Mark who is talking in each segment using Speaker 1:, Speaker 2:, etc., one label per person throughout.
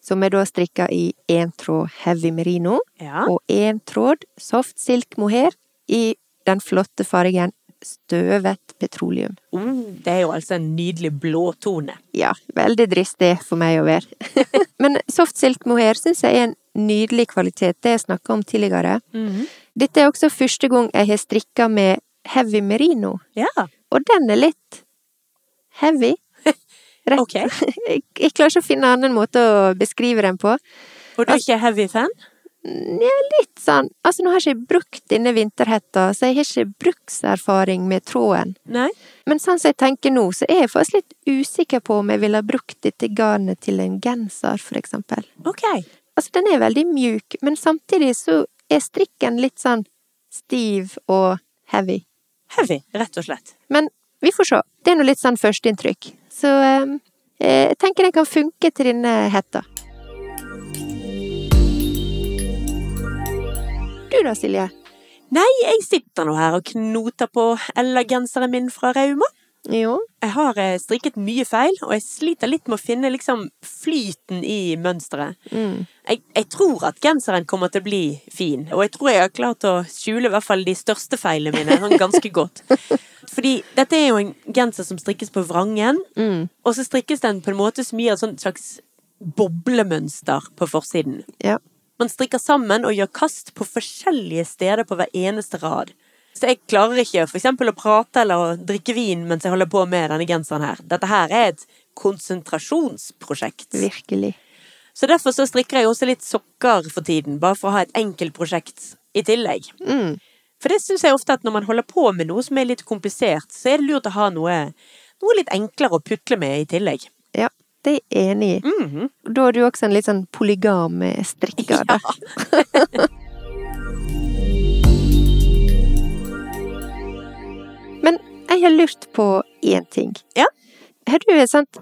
Speaker 1: som jeg da strikker i én tråd heavy merino
Speaker 2: Ja.
Speaker 1: og én tråd soft silk mohair i den flotte fargen støvet petroleum.
Speaker 2: Oh, det er jo altså en nydelig blå tone.
Speaker 1: Ja, veldig dristig for meg å være. Men soft silk mohair syns jeg er en nydelig kvalitet, det jeg snakka om tidligere.
Speaker 2: Mhm.
Speaker 1: Dette er også første gang jeg har strikka med heavy merino.
Speaker 2: Ja.
Speaker 1: Og den er litt heavy. Rett.
Speaker 2: Ok.
Speaker 1: Jeg, jeg klarer ikke å finne en annen måte å beskrive den på.
Speaker 2: Og du er ikke heavy fan?
Speaker 1: Nja, litt sånn Altså, nå har jeg ikke brukt denne vinterhetta, så jeg har ikke brukserfaring med tråden.
Speaker 2: Nei?
Speaker 1: Men sånn som jeg tenker nå, så er jeg faktisk litt usikker på om jeg ville ha brukt dette garnet til en genser, for eksempel.
Speaker 2: Ok.
Speaker 1: Altså, den er veldig mjuk, men samtidig så er strikken litt sånn stiv og heavy.
Speaker 2: Heavy, rett og slett.
Speaker 1: Men vi får se. Det er nå litt sånn førsteinntrykk. Så eh, jeg tenker den kan funke til denne hetta. Du da, Silje?
Speaker 2: Nei, jeg sitter nå her og knoter på Ella-genseren min fra Rauma.
Speaker 1: Jo.
Speaker 2: Jeg har eh, strikket mye feil, og jeg sliter litt med å finne liksom flyten i mønsteret.
Speaker 1: Mm.
Speaker 2: Jeg, jeg tror at genseren kommer til å bli fin, og jeg tror jeg har klart å skjule i hvert fall de største feilene mine sånn ganske godt. Fordi dette er jo en genser som strikkes på vrangen,
Speaker 1: Mm.
Speaker 2: og så strikkes den på en måte som gir et sånt slags boblemønster på forsiden.
Speaker 1: Ja.
Speaker 2: Man strikker sammen og gjør kast på forskjellige steder på hver eneste rad. Så jeg klarer ikke for eksempel å prate eller å drikke vin mens jeg holder på med denne genseren her. Dette her er et konsentrasjonsprosjekt.
Speaker 1: Virkelig.
Speaker 2: Så derfor så strikker jeg også litt sokker for tiden, bare for å ha et enkelt prosjekt i tillegg.
Speaker 1: Mm.
Speaker 2: For det syns jeg ofte at når man holder på med noe som er litt komplisert, så er det lurt å ha noe, noe litt enklere å putle med i tillegg.
Speaker 1: Ja, det er jeg enig i.
Speaker 2: Mhm.
Speaker 1: Da er du også en litt sånn polygam strikker, da. Men jeg har lurt på én ting.
Speaker 2: Ja.
Speaker 1: Har du et sånt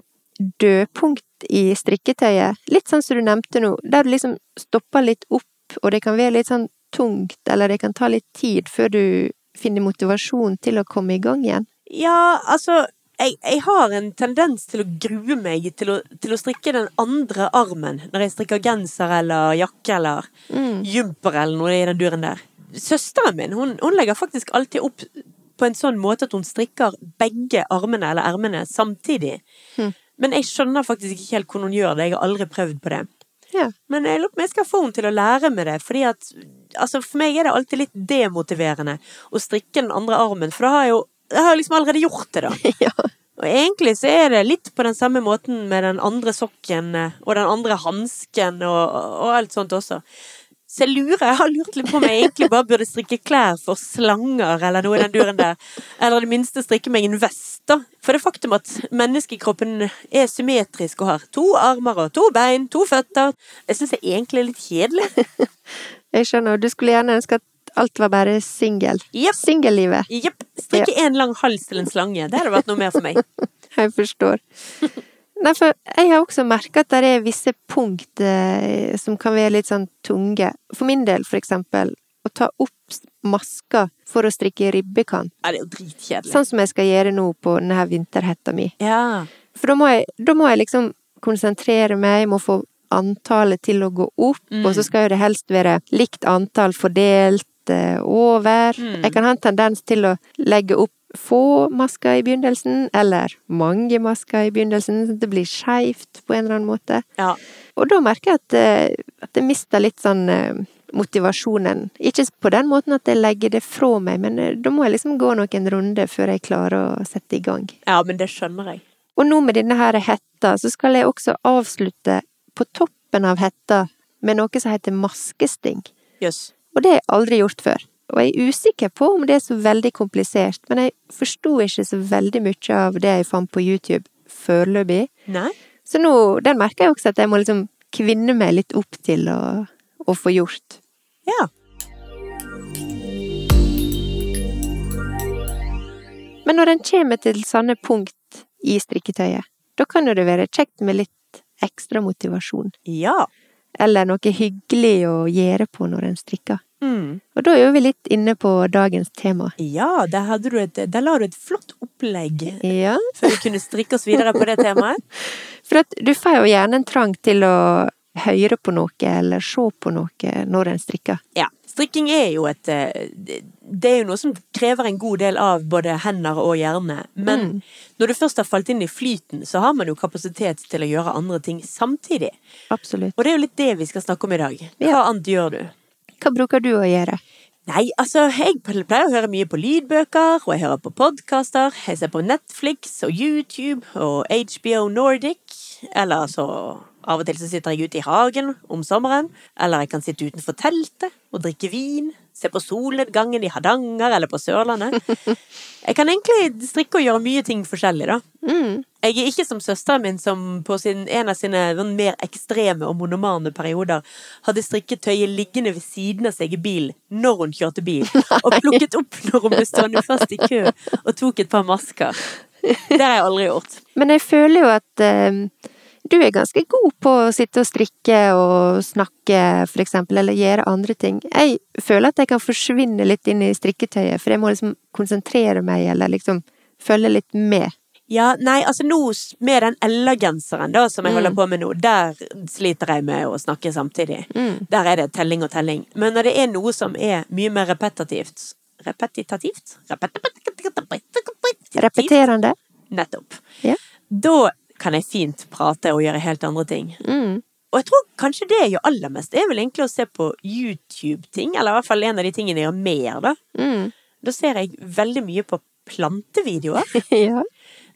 Speaker 1: dødpunkt i strikketøyet? Litt sånn som du nevnte nå, der du liksom stopper litt opp, og det kan være litt sånn tungt, eller det kan ta litt tid før du finner motivasjon til å komme i gang igjen.
Speaker 2: Ja, altså jeg, jeg har en tendens til å grue meg til å, til å strikke den andre armen når jeg strikker genser eller jakke eller jumper eller noe i den duren der. Søsteren min hun, hun legger faktisk alltid opp på en sånn måte at hun strikker begge armene eller ermene samtidig.
Speaker 1: Hm.
Speaker 2: Men jeg skjønner faktisk ikke helt hvordan hun gjør det. Jeg har aldri prøvd på det.
Speaker 1: Ja.
Speaker 2: Men jeg lurer på om jeg skal få henne til å lære med det, fordi at altså For meg er det alltid litt demotiverende å strikke den andre armen, for da har jeg jo jeg har jo liksom allerede gjort det, da.
Speaker 1: Ja.
Speaker 2: Og egentlig så er det litt på den samme måten med den andre sokken eh, og den andre hansken og, og alt sånt også. Så jeg lurer, jeg har lurt litt på om jeg egentlig bare burde strikke klær for slanger eller noe i den duren der. Eller i det minste strikke meg en vest, da. For det faktum at menneskekroppen er symmetrisk og har to armer og to bein, to føtter Jeg syns det egentlig er litt kjedelig.
Speaker 1: Jeg skjønner, du skulle gjerne ønske at alt var bare singel.
Speaker 2: Jepp.
Speaker 1: Singellivet.
Speaker 2: Jepp. Strikke en lang hals til en slange. Det hadde vært noe mer for meg.
Speaker 1: Jeg forstår. Nei, for jeg har også merka at det er visse punkt eh, som kan være litt sånn tunge. For min del, for eksempel, å ta opp maska for å strikke ribbekant.
Speaker 2: Ja, det er jo dritkjedelig.
Speaker 1: Sånn som jeg skal gjøre nå på denne her vinterhetta mi.
Speaker 2: Ja.
Speaker 1: For da må jeg, da må jeg liksom konsentrere meg, jeg må få antallet til å gå opp,
Speaker 2: Mm.
Speaker 1: og så skal jo det helst være likt antall fordelt eh, over.
Speaker 2: Mm.
Speaker 1: Jeg kan ha en tendens til å legge opp få masker i begynnelsen, eller mange masker i begynnelsen, så det blir skeivt på en eller annen måte.
Speaker 2: ja.
Speaker 1: Og da merker jeg at, eh, at jeg mister litt sånn eh, motivasjonen. Ikke på den måten at jeg legger det fra meg, men eh, da må jeg liksom gå noen runder før jeg klarer å sette i gang.
Speaker 2: Ja, men det skjønner jeg.
Speaker 1: Og nå med denne her hetta, så skal jeg også avslutte på toppen av hetta med noe som heter maskesting.
Speaker 2: Jøss.
Speaker 1: Og det har jeg aldri gjort før. Og jeg er usikker på om det er så veldig komplisert, men jeg forsto ikke så veldig mye av det jeg fant på YouTube foreløpig.
Speaker 2: Nei?
Speaker 1: Så nå, den merker jeg også at jeg må liksom kvinne meg litt opp til å, å få gjort.
Speaker 2: Ja.
Speaker 1: Men når en kommer til sanne punkt i strikketøyet, da kan jo det være kjekt med litt ekstra motivasjon.
Speaker 2: Ja.
Speaker 1: Eller noe hyggelig å gjøre på når en strikker.
Speaker 2: Mm.
Speaker 1: Og da er jo vi litt inne på dagens tema.
Speaker 2: Ja, der, hadde du et, der la du et flott opplegg
Speaker 1: Ja,
Speaker 2: før vi kunne strikke oss videre på det temaet.
Speaker 1: for at du får jo gjerne en trang til å høre på noe eller se på noe når en strikker.
Speaker 2: Ja. Strikking er jo et eh, Det det er jo noe som krever en god del av både hender og hjerne. Men når du først har falt inn i flyten, så har man jo kapasitet til å gjøre andre ting samtidig.
Speaker 1: Absolutt.
Speaker 2: Og det er jo litt det vi skal snakke om i dag. Hva
Speaker 1: Ja.
Speaker 2: annet gjør du?
Speaker 1: Hva bruker du å gjøre?
Speaker 2: Nei, altså, jeg pleier å høre mye på lydbøker, og jeg hører på podkaster. Jeg ser på Netflix og YouTube og HBO Nordic. Eller så Av og til så sitter jeg ute i hagen om sommeren. Eller jeg kan sitte utenfor teltet og drikke vin. Se på solnedgangen i Hardanger eller på Sørlandet. Jeg kan egentlig strikke og gjøre mye ting forskjellig, da.
Speaker 1: Mm.
Speaker 2: Jeg er ikke som søsteren min, som på sin, en av sine sånn mer ekstreme og monomane perioder hadde strikketøyet liggende ved siden av seg i bilen når hun kjørte bil, og plukket opp når hun ble stående fast i kø og tok et par masker. Det har jeg aldri gjort.
Speaker 1: Men jeg føler jo at eh, du er ganske god på å sitte og strikke og snakke, for eksempel, eller gjøre andre ting. Jeg føler at jeg kan forsvinne litt inn i strikketøyet, for jeg må liksom konsentrere meg, eller liksom følge litt med.
Speaker 2: Ja, nei, altså nå s- med den Ella-genseren da, som jeg holder på med nå, der sliter jeg med å snakke samtidig. Der er det telling og telling. Men når det er noe som er mye mer repetitivt Repetitativt? Repetitivt?
Speaker 1: Repeterende.
Speaker 2: Nettopp.
Speaker 1: Ja.
Speaker 2: Da kan jeg fint prate og gjøre helt andre ting.
Speaker 1: Mm.
Speaker 2: Og jeg tror kanskje det jeg gjør aller mest, er vel egentlig å se på YouTube-ting, eller i hvert fall en av de tingene jeg gjør mer, da.
Speaker 1: Mm.
Speaker 2: Da ser jeg veldig mye på plantevideoer.
Speaker 1: ja.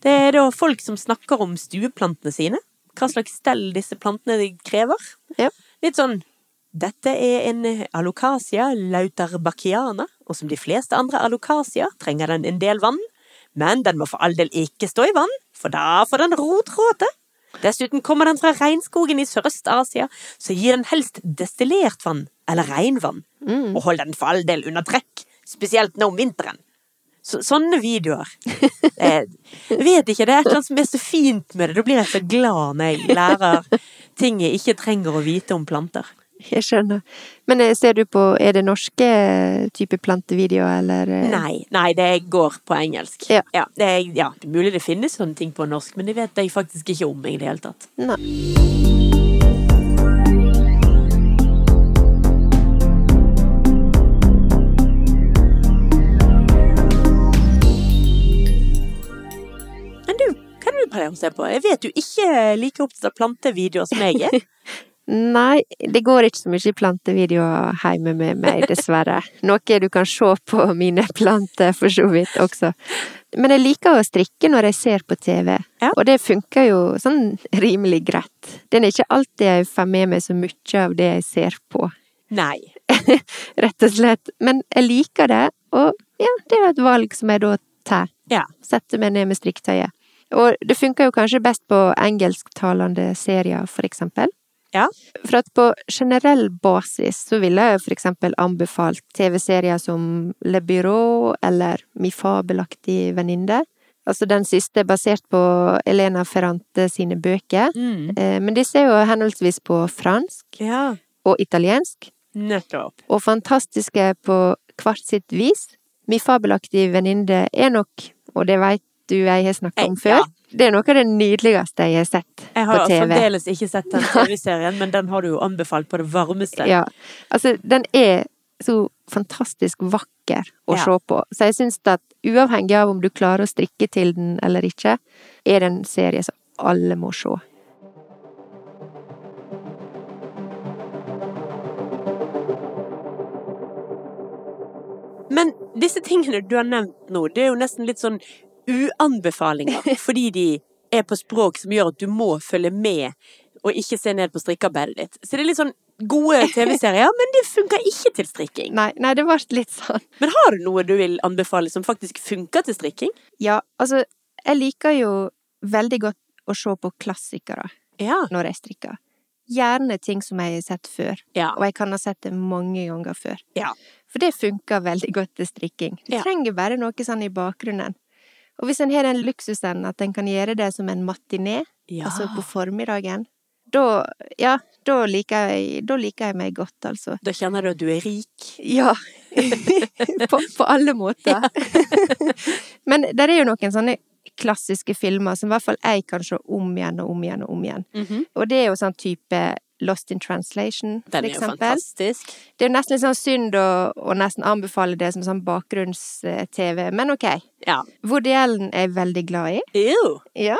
Speaker 2: Det er da folk som snakker om stueplantene sine, hva slags stell disse plantene de krever.
Speaker 1: Ja.
Speaker 2: Litt sånn dette er en alocasia lauterbachiana, og som de fleste andre alocasia trenger den en del vann. Men den må for all del ikke stå i vann, for da får den rotråte. Dessuten kommer den fra regnskogen i Sørøst-Asia, så gi den helst destillert vann eller regnvann. Og hold den for all del under trekk, spesielt nå om vinteren. Så, sånne videoer. Eh, Jeg vet ikke, det er et eller annet som er så fint med det. Da blir jeg så glad når jeg lærer ting jeg ikke trenger å vite om planter.
Speaker 1: Jeg skjønner. Men eh, ser du på Er det norske eh, type plantevideoer, eller eh?
Speaker 2: Nei, nei, det går på engelsk.
Speaker 1: Ja.
Speaker 2: det er, ja, det er mulig det finnes sånne ting på norsk, men det vet jeg faktisk ikke om i det hele tatt.
Speaker 1: Nei.
Speaker 2: Men du, hva er det du pleier å se på? Jeg vet du ikke er like opptatt av plantevideoer som jeg er.
Speaker 1: Nei, det går ikke så mye plantevideoer hjemme med meg, dessverre. Noe du kan se på mine planter, for så vidt, også. Men jeg liker å strikke når jeg ser på TV,
Speaker 2: Ja.
Speaker 1: og det funker jo sånn rimelig greit. Det er ikke alltid jeg får med meg så mye av det jeg ser på,
Speaker 2: Nei.
Speaker 1: rett og slett. Men jeg liker det, og ja, det er jo et valg som jeg da tar.
Speaker 2: Ja.
Speaker 1: Setter meg ned med strikketøyet. Og det funker jo kanskje best på engelsktalende serier, for eksempel.
Speaker 2: Ja.
Speaker 1: For at på generell basis så ville jeg for eksempel anbefalt TV-serier som Le Byrå eller Mi fabelaktige venninne. Altså den siste er basert på Elena Ferrante sine bøker.
Speaker 2: Mm.
Speaker 1: Eh, Men disse er jo henholdsvis på fransk
Speaker 2: Ja,
Speaker 1: og italiensk,
Speaker 2: nettopp.
Speaker 1: og fantastiske på hvert sitt vis. Mi fabelaktige venninne er nok, og det veit du jeg har snakka om
Speaker 2: Eh, ja.
Speaker 1: før, det er noe av det nydeligste jeg har sett
Speaker 2: Jeg
Speaker 1: på
Speaker 2: har
Speaker 1: TV.
Speaker 2: fremdeles ikke sett den TV-serien, men den har du jo anbefalt på det varmeste.
Speaker 1: Ja. Altså, den er så fantastisk vakker å
Speaker 2: Ja.
Speaker 1: se på. Så jeg syns at uavhengig av om du klarer å strikke til den eller ikke, er det en serie som alle må se.
Speaker 2: Men disse tingene du har nevnt nå, det er jo nesten litt sånn uanbefalinger, fordi de er på språk som gjør at du må følge med og ikke se ned på strikkearbeidet ditt. Så det er litt sånn gode TV-serier, men det funker ikke til strikking.
Speaker 1: Nei, nei, det ble litt sånn.
Speaker 2: Men har du noe du vil anbefale som faktisk funker til strikking?
Speaker 1: Ja, altså, jeg liker jo veldig godt å se på klassikere
Speaker 2: Ja.
Speaker 1: når jeg strikker. Gjerne ting som jeg har sett før,
Speaker 2: Ja.
Speaker 1: og jeg kan ha sett det mange ganger før.
Speaker 2: Ja.
Speaker 1: For det funker veldig godt til strikking. Du
Speaker 2: Ja.
Speaker 1: trenger bare noe sånn i bakgrunnen. Og hvis en har den luksusen at en kan gjøre det som en matiné,
Speaker 2: Ja.
Speaker 1: altså på formiddagen, da, ja, da, liker jeg, da liker jeg meg godt, altså.
Speaker 2: Da kjenner du at du er rik.
Speaker 1: Ja. på, på alle måter. Men der er jo noen sånne klassiske filmer som i hvert fall jeg kan se om igjen og om igjen og om igjen. Og det er jo sånn type Lost in Translation, for
Speaker 2: Den er jo
Speaker 1: eksempel.
Speaker 2: fantastisk.
Speaker 1: Det er jo nesten litt sånn synd å, å nesten anbefale det som sånn bakgrunns-TV, men ok.
Speaker 2: Ja.
Speaker 1: Woody Allen er jeg veldig glad i.
Speaker 2: Ew.
Speaker 1: Ja.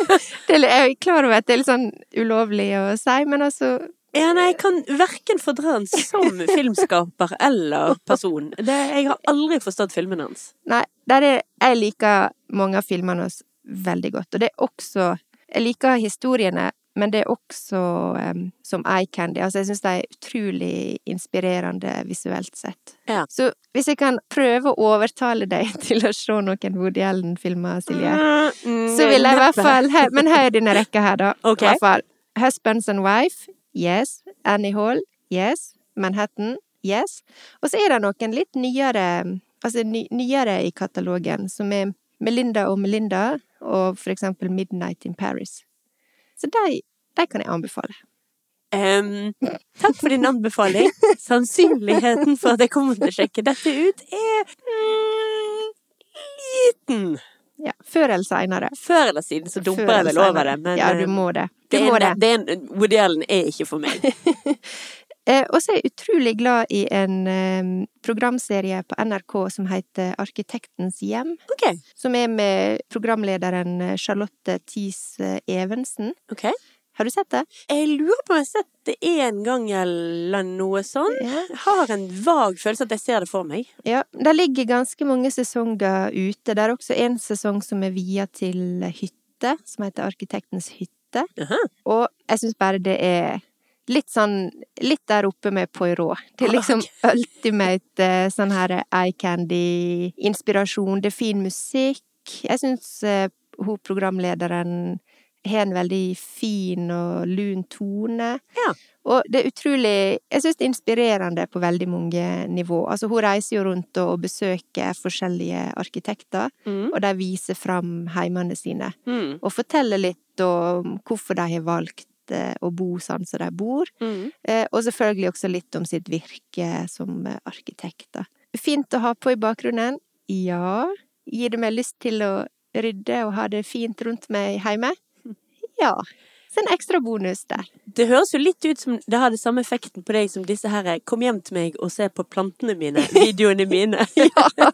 Speaker 1: det er, jeg er klar over at det er litt sånn ulovlig å si, men altså
Speaker 2: Ja, nei, jeg kan verken fordra han som filmskaper eller person. Det, jeg har aldri forstått filmen hans.
Speaker 1: Nei, der er, jeg liker mange av filmene hans veldig godt. Og det er også Jeg liker historiene, men det er også em, som eye candy. Altså, jeg syns de er utrolig inspirerende visuelt sett.
Speaker 2: Ja.
Speaker 1: Så hvis jeg kan prøve å overtale deg til å se noen Woody Allen-filmer, Silje,
Speaker 2: Mm,
Speaker 1: så vil jeg i hvert fall he- Men hør denne rekka her, da.
Speaker 2: Ok.
Speaker 1: I hvert fall. Husbands and Wife, yes. Annie Hall, yes. Manhattan, yes. Og så er det noen litt nyere Altså ny, nyere i katalogen, som er Melinda og Melinda, og for eksempel Midnight in Paris. Så de, de kan jeg anbefale.
Speaker 2: Em, takk for din anbefaling. Sannsynligheten for at jeg kommer til å sjekke dette ut, er mm, liten.
Speaker 1: Ja, Før eller seinere.
Speaker 2: Før eller siden så dumper jeg vel over det, men
Speaker 1: Ja,
Speaker 2: eh,
Speaker 1: du må det. Du
Speaker 2: det er
Speaker 1: må det.
Speaker 2: en, det er en, Woody Allen er ikke for meg.
Speaker 1: Eh, og så er jeg utrolig glad i en eh, programserie på NRK som heter Arkitektens hjem.
Speaker 2: Ok.
Speaker 1: Som er med programlederen eh, Charlotte Thies eh, Evensen.
Speaker 2: ok.
Speaker 1: Har du sett det?
Speaker 2: Jeg lurer på om jeg har sett det en gang eller noe sånn.
Speaker 1: Ja.
Speaker 2: Jeg har en vag følelse at jeg ser det for meg.
Speaker 1: ja. Der ligger ganske mange sesonger ute. Det er også en sesong som er via til hytte, som heter Arkitektens hytte.
Speaker 2: Aha.
Speaker 1: Og jeg syns bare det er litt sånn Litt der oppe med Poirot. Det er liksom ultimate eh, sånn her eh, eye candy-inspirasjon. Det er fin musikk. Jeg syns hun programlederen har en veldig fin og lun tone.
Speaker 2: Ja.
Speaker 1: Og det er utrolig Jeg syns det er inspirerende på veldig mange nivå. Altså, hun reiser jo rundt og besøker forskjellige arkitekter,
Speaker 2: Mm.
Speaker 1: og de viser fram heimene sine
Speaker 2: Mm.
Speaker 1: og fortelle litt om hvorfor de har valgt eh, å bo sånn som de bor.
Speaker 2: Mm.
Speaker 1: Eh, Og selvfølgelig også litt om sitt virke som eh, arkitekt. da. Fint å ha på i bakgrunnen. Ja. Gir det meg lyst til å rydde og ha det fint rundt meg hjemme? Ja. Så en ekstra bonus der.
Speaker 2: Det høres jo litt ut som det har det samme effekten på deg som disse her eh, 'kom hjem til meg og se på plantene mine', videoene mine.
Speaker 1: Ja,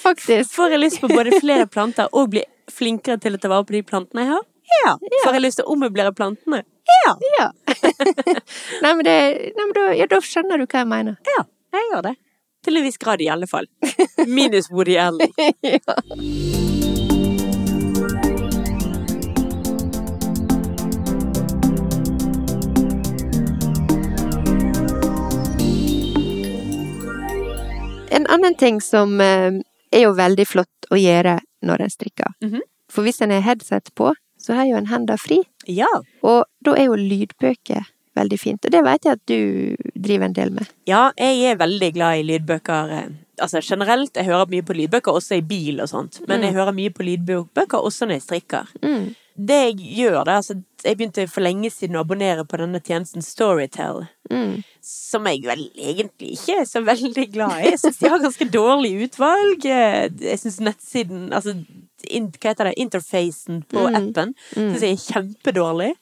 Speaker 1: faktisk.
Speaker 2: Får jeg lyst på både flere planter og bli flinkere til å ta vare på de plantene jeg har? Ja. Får jeg lyst til å ommøblere plantene? Ja.
Speaker 1: Ja. Nei, men, det, nei, men da, ja, da skjønner du hva jeg mener.
Speaker 2: Ja, jeg gjør det. Til en viss grad, i alle fall. Minus Woody Allen.
Speaker 1: En annen ting som eh, er jo veldig flott å gjøre når en strikker.
Speaker 2: Mhm.
Speaker 1: For hvis en har headset på, så har jo en hendene fri.
Speaker 2: Ja.
Speaker 1: Og da er jo lydbøker veldig fint. Og det vet jeg at du driver en del med.
Speaker 2: Ja, jeg er veldig glad i lydbøker. eh, Altså generelt, jeg hører mye på lydbøker, også i bil og sånt. Men jeg hører mye på lydbøker også når jeg strikker. Det jeg gjør, det er altså Jeg begynte for lenge siden å abonnere på denne tjenesten Storytel.
Speaker 1: Mm.
Speaker 2: Som jeg vel egentlig ikke er så veldig glad i. Jeg syns de har ganske dårlig utvalg. eh, Jeg syns nettsiden Altså, in, hva heter det? Interfacen på appen syns jeg er kjempedårlig.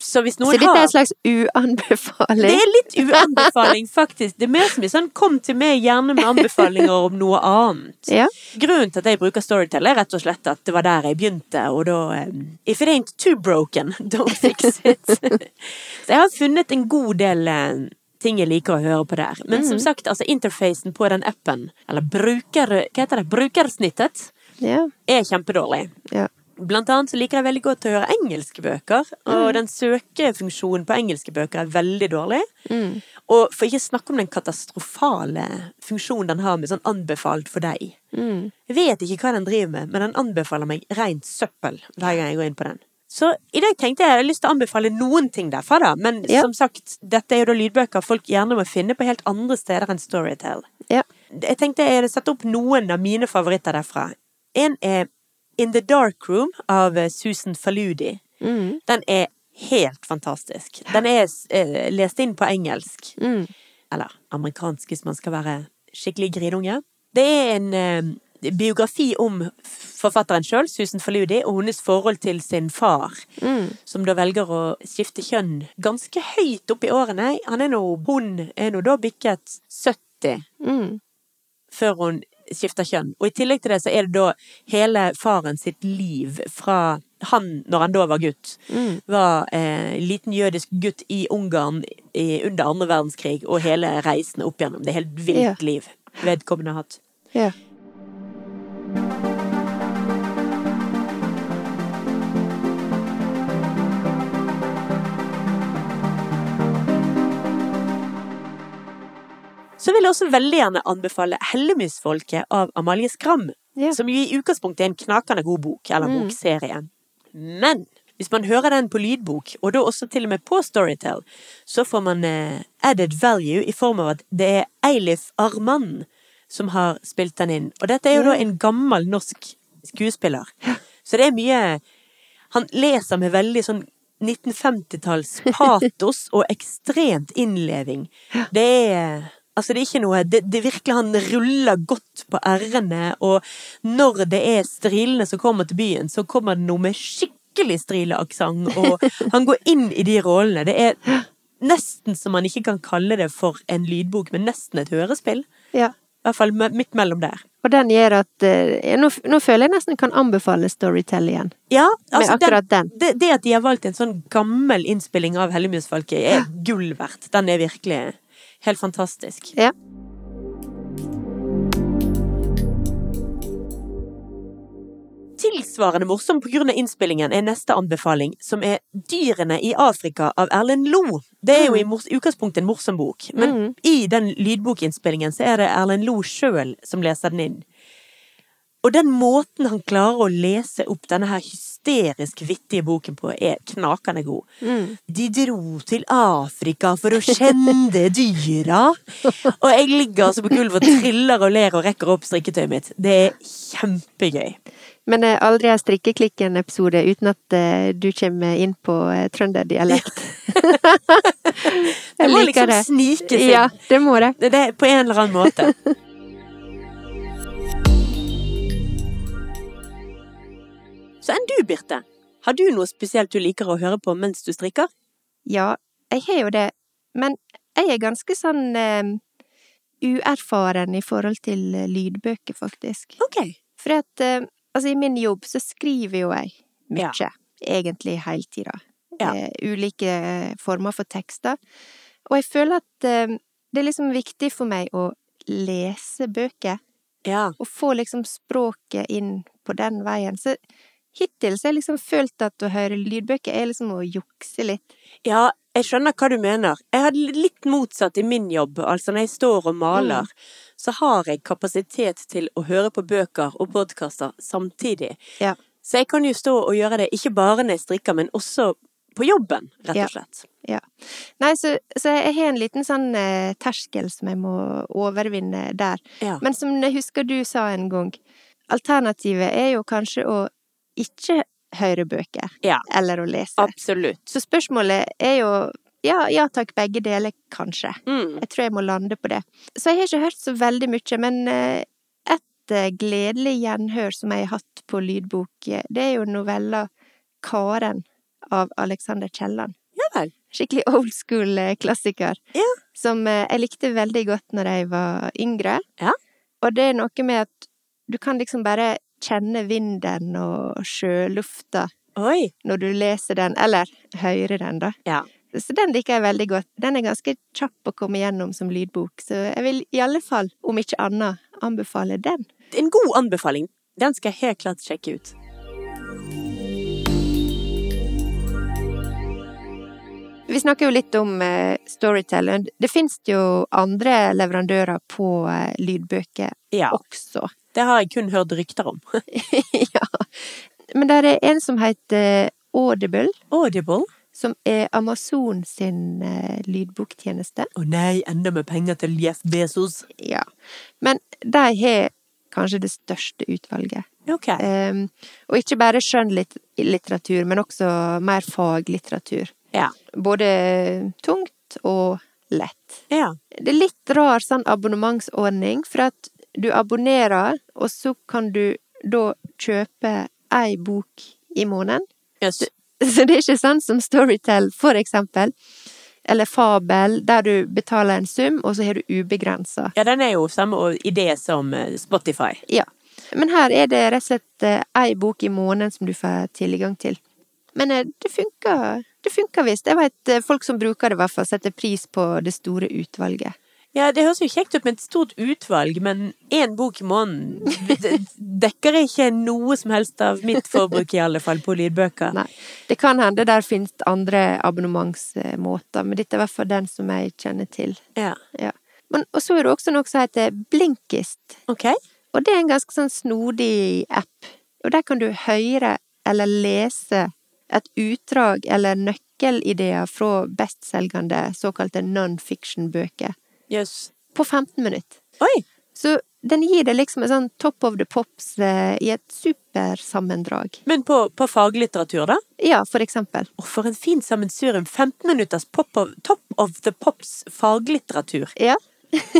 Speaker 2: Så hvis noen
Speaker 1: Så dette
Speaker 2: har
Speaker 1: er en slags uanbefaling.
Speaker 2: det er litt uanbefaling, faktisk. Det er mer som i sånn 'kom til meg gjerne med anbefalinger om noe annet'.
Speaker 1: Ja.
Speaker 2: Grunnen til at jeg bruker Storytel, er rett og slett at det var der jeg begynte, og da eh, If it ain't too broken, don't fix it. Så jeg har funnet en god del eh, ting jeg liker å høre på der. Men som sagt, altså interfacen på den appen, eller bruker... Hva heter det? Brukersnittet,
Speaker 1: Ja.
Speaker 2: er kjempedårlig.
Speaker 1: ja.
Speaker 2: Blant annet så liker jeg veldig godt å høre engelske bøker, og den søkefunksjonen på engelske bøker er veldig dårlig. Og for ikke å snakke om den katastrofale funksjonen den har med sånn anbefalt for deg. Jeg vet ikke hva den driver med, men den anbefaler meg rent søppel hver gang jeg går inn på den. Så i dag tenkte jeg jeg har lyst til å anbefale noen ting derfra, da. Men
Speaker 1: Ja.
Speaker 2: som sagt, dette er jo da lydbøker folk gjerne må finne på helt andre steder enn Storytel.
Speaker 1: ja.
Speaker 2: Jeg tenkte jeg hadde satt opp noen av mine favoritter derfra. En er In the Dark Room av eh, Susan Faludi.
Speaker 1: Mm.
Speaker 2: Den er helt fantastisk. Den er eh, lest inn på engelsk.
Speaker 1: Mm.
Speaker 2: Eller amerikansk, hvis man skal være skikkelig grinunge. Det er en eh, biografi om forfatteren sjøl, Susan Faludi, og hennes forhold til sin far,
Speaker 1: Mm.
Speaker 2: som da velger å skifte kjønn ganske høyt opp i årene. Han er nå, hun er nå da bikket 70
Speaker 1: Mm.
Speaker 2: før hun skifter kjønn. Og i tillegg til det så er det da hele faren sitt liv fra han, når han da var gutt,
Speaker 1: Mm.
Speaker 2: var eh, liten jødisk gutt i Ungarn i, under andre verdenskrig, og hele reisen opp gjennom. Det er helt vilt
Speaker 1: Ja.
Speaker 2: liv vedkommende har hatt.
Speaker 1: Ja.
Speaker 2: Så vil jeg også veldig gjerne anbefale Hellemusfolket av Amalie Skram.
Speaker 1: Ja.
Speaker 2: Som jo i utgangspunktet er en knakende god bok, eller
Speaker 1: Mm.
Speaker 2: bokserie. Men hvis man hører den på lydbok, og da også til og med på Storytel, så får man eh, added value i form av at det er Eilif Arman som har spilt den inn. Og dette er jo
Speaker 1: Ja.
Speaker 2: da en gammel norsk skuespiller. Så det er mye Han leser med veldig sånn 1950-talls patos og ekstremt innleving. Det er Altså, det er ikke noe det, det er virkelig Han ruller godt på r-ene, og når det er strilene som kommer til byen, så kommer det noe med skikkelig strileaksent, og han går inn i de rollene. Det er nesten som man ikke kan kalle det for en lydbok, men nesten et hørespill.
Speaker 1: ja.
Speaker 2: I hvert fall me- midt mellom der.
Speaker 1: Og den gjør at eh, jeg- nå, f- nå føler jeg nesten kan anbefale Storytel igjen.
Speaker 2: Ja,
Speaker 1: Med
Speaker 2: altså den,
Speaker 1: akkurat den.
Speaker 2: det, det at de har valgt en sånn gammel innspilling av Hellemusfolket, er gull verdt. Den er virkelig helt fantastisk.
Speaker 1: Ja.
Speaker 2: Tilsvarende morsom på grunn av innspillingen er neste anbefaling, som er Dyrene i Afrika av Erlend Lo. Det er jo i mors utgangspunktet en morsom bok, men
Speaker 1: Mm.
Speaker 2: i den lydbokinnspillingen så er det Erlend Lo sjøl som leser den inn. Og den måten han klarer å lese opp denne her hysterisk vittige boken på, er knakende god.
Speaker 1: Mm.
Speaker 2: De dro til Afrika for å skjende dyra. Og jeg ligger altså på gulvet og triller og ler og rekker opp strikketøyet mitt. Det er kjempegøy.
Speaker 1: Men eh, aldri en strikkeklikken-episode uten at eh, du kommer inn på eh, trønderdialekt.
Speaker 2: Det
Speaker 1: jeg
Speaker 2: må
Speaker 1: liker
Speaker 2: liksom
Speaker 1: det.
Speaker 2: snikes inn.
Speaker 1: Ja, det må det.
Speaker 2: Det er på en eller annen måte. Så enn du, Birte. Har du noe spesielt du liker å høre på mens du strikker?
Speaker 1: Ja, jeg har jo det. Men jeg er ganske sånn eh, uerfaren i forhold til eh, lydbøker, faktisk.
Speaker 2: Ok.
Speaker 1: For at eh, altså, i min jobb så skriver jo jeg mye, egentlig hele tida.
Speaker 2: Ja.
Speaker 1: Eh, ulike eh, former for tekster. Og jeg føler at eh, det er liksom viktig for meg å lese bøker,
Speaker 2: Ja.
Speaker 1: og få liksom språket inn på den veien. Så hittil så har jeg liksom følt at å høre lydbøker er liksom å jukse litt.
Speaker 2: Ja, jeg skjønner hva du mener. Jeg hadde litt motsatt i min jobb. Altså når jeg står og maler,
Speaker 1: Mm.
Speaker 2: så har jeg kapasitet til å høre på bøker og podkaster samtidig.
Speaker 1: Ja.
Speaker 2: Så jeg kan jo stå og gjøre det ikke bare når jeg strikker, men også på jobben, rett
Speaker 1: Ja.
Speaker 2: og slett.
Speaker 1: Nei, så, så jeg har en liten sånn eh, terskel som jeg må overvinne der.
Speaker 2: Ja.
Speaker 1: Men som jeg husker du sa en gang, alternativet er jo kanskje å ikke høre bøker,
Speaker 2: Ja.
Speaker 1: eller å lese.
Speaker 2: Absolutt.
Speaker 1: Så spørsmålet er jo ja, ja takk, begge deler, kanskje.
Speaker 2: Mm.
Speaker 1: Jeg tror jeg må lande på det. Så jeg har ikke hørt så veldig mye, men eh, et eh, gledelig gjenhør som jeg har hatt på lydbok, eh, det er jo novella Karen av Alexander Kielland.
Speaker 2: Ja vel.
Speaker 1: Skikkelig old school eh, klassiker.
Speaker 2: Ja.
Speaker 1: Som eh, jeg likte veldig godt når jeg var yngre.
Speaker 2: Ja.
Speaker 1: Og det er noe med at du kan liksom bare kjenne vinden og sjølufta
Speaker 2: Oi.
Speaker 1: når du leser den, eller hører den, da.
Speaker 2: Ja.
Speaker 1: Så den liker jeg veldig godt. Den er ganske kjapp å komme gjennom som lydbok, så jeg vil i alle fall, om ikke annet, anbefale den.
Speaker 2: En god anbefaling. Den skal jeg helt klart sjekke ut.
Speaker 1: Vi snakker jo litt om eh, Storytel. og Det finnes jo andre leverandører på eh, lydbøker
Speaker 2: Ja.
Speaker 1: også.
Speaker 2: Det har jeg kun hørt rykter om.
Speaker 1: ja. Men der er en som heter eh, Audible,
Speaker 2: Audible.
Speaker 1: som er Amazon sin eh, lydboktjeneste.
Speaker 2: Å nei, enda med penger til Jeff Bezos.
Speaker 1: Ja. Men de har kanskje det største utvalget.
Speaker 2: OK.
Speaker 1: Ehm, og ikke bare skjønnlitteratur, men også mer faglitteratur.
Speaker 2: Ja.
Speaker 1: Både tungt og lett.
Speaker 2: Ja.
Speaker 1: Det er litt rar sånn abonnementsordning, for at du abonnerer, og så kan du da kjøpe ei bok i måneden.
Speaker 2: Jøss.
Speaker 1: Så det er ikke sånn som Storytel, for eksempel, eller Fabel, der du betaler en sum, og så har du ubegrensa.
Speaker 2: Ja, den er jo samme å- idé som eh, Spotify.
Speaker 1: Ja. Men her er det rett og slett eh, ei bok i måneden som du får tilgang til. Men eh, det funker, det funker visst. Jeg vet eh, folk som bruker det, i hvert fall setter pris på det store utvalget.
Speaker 2: Ja, det høres jo kjekt ut med et stort utvalg, men én bok i måneden det- dekker ikke noe som helst av mitt forbruk, i alle fall, på lydbøker.
Speaker 1: Nei. Det kan hende der finnes andre abonnementsmåter, men dette er i hvert fall den som jeg kjenner til.
Speaker 2: Ja.
Speaker 1: Ja. Men, og så er det også noe som heter Blinkist.
Speaker 2: OK.
Speaker 1: Og det er en ganske sånn snodig app. Og der kan du høre eller lese et utdrag eller nøkkelideer fra bestselgende såkalte non-fiction-bøker
Speaker 2: Jøss.
Speaker 1: på 15 minutter.
Speaker 2: Oi!
Speaker 1: Så den gir deg liksom en sånn top of the pops eh, i et supersammendrag.
Speaker 2: Men på, på faglitteratur, da?
Speaker 1: Ja, for eksempel.
Speaker 2: Å, for en fin sammensurium. 15 minutters pop of, top of the pops faglitteratur.
Speaker 1: Ja.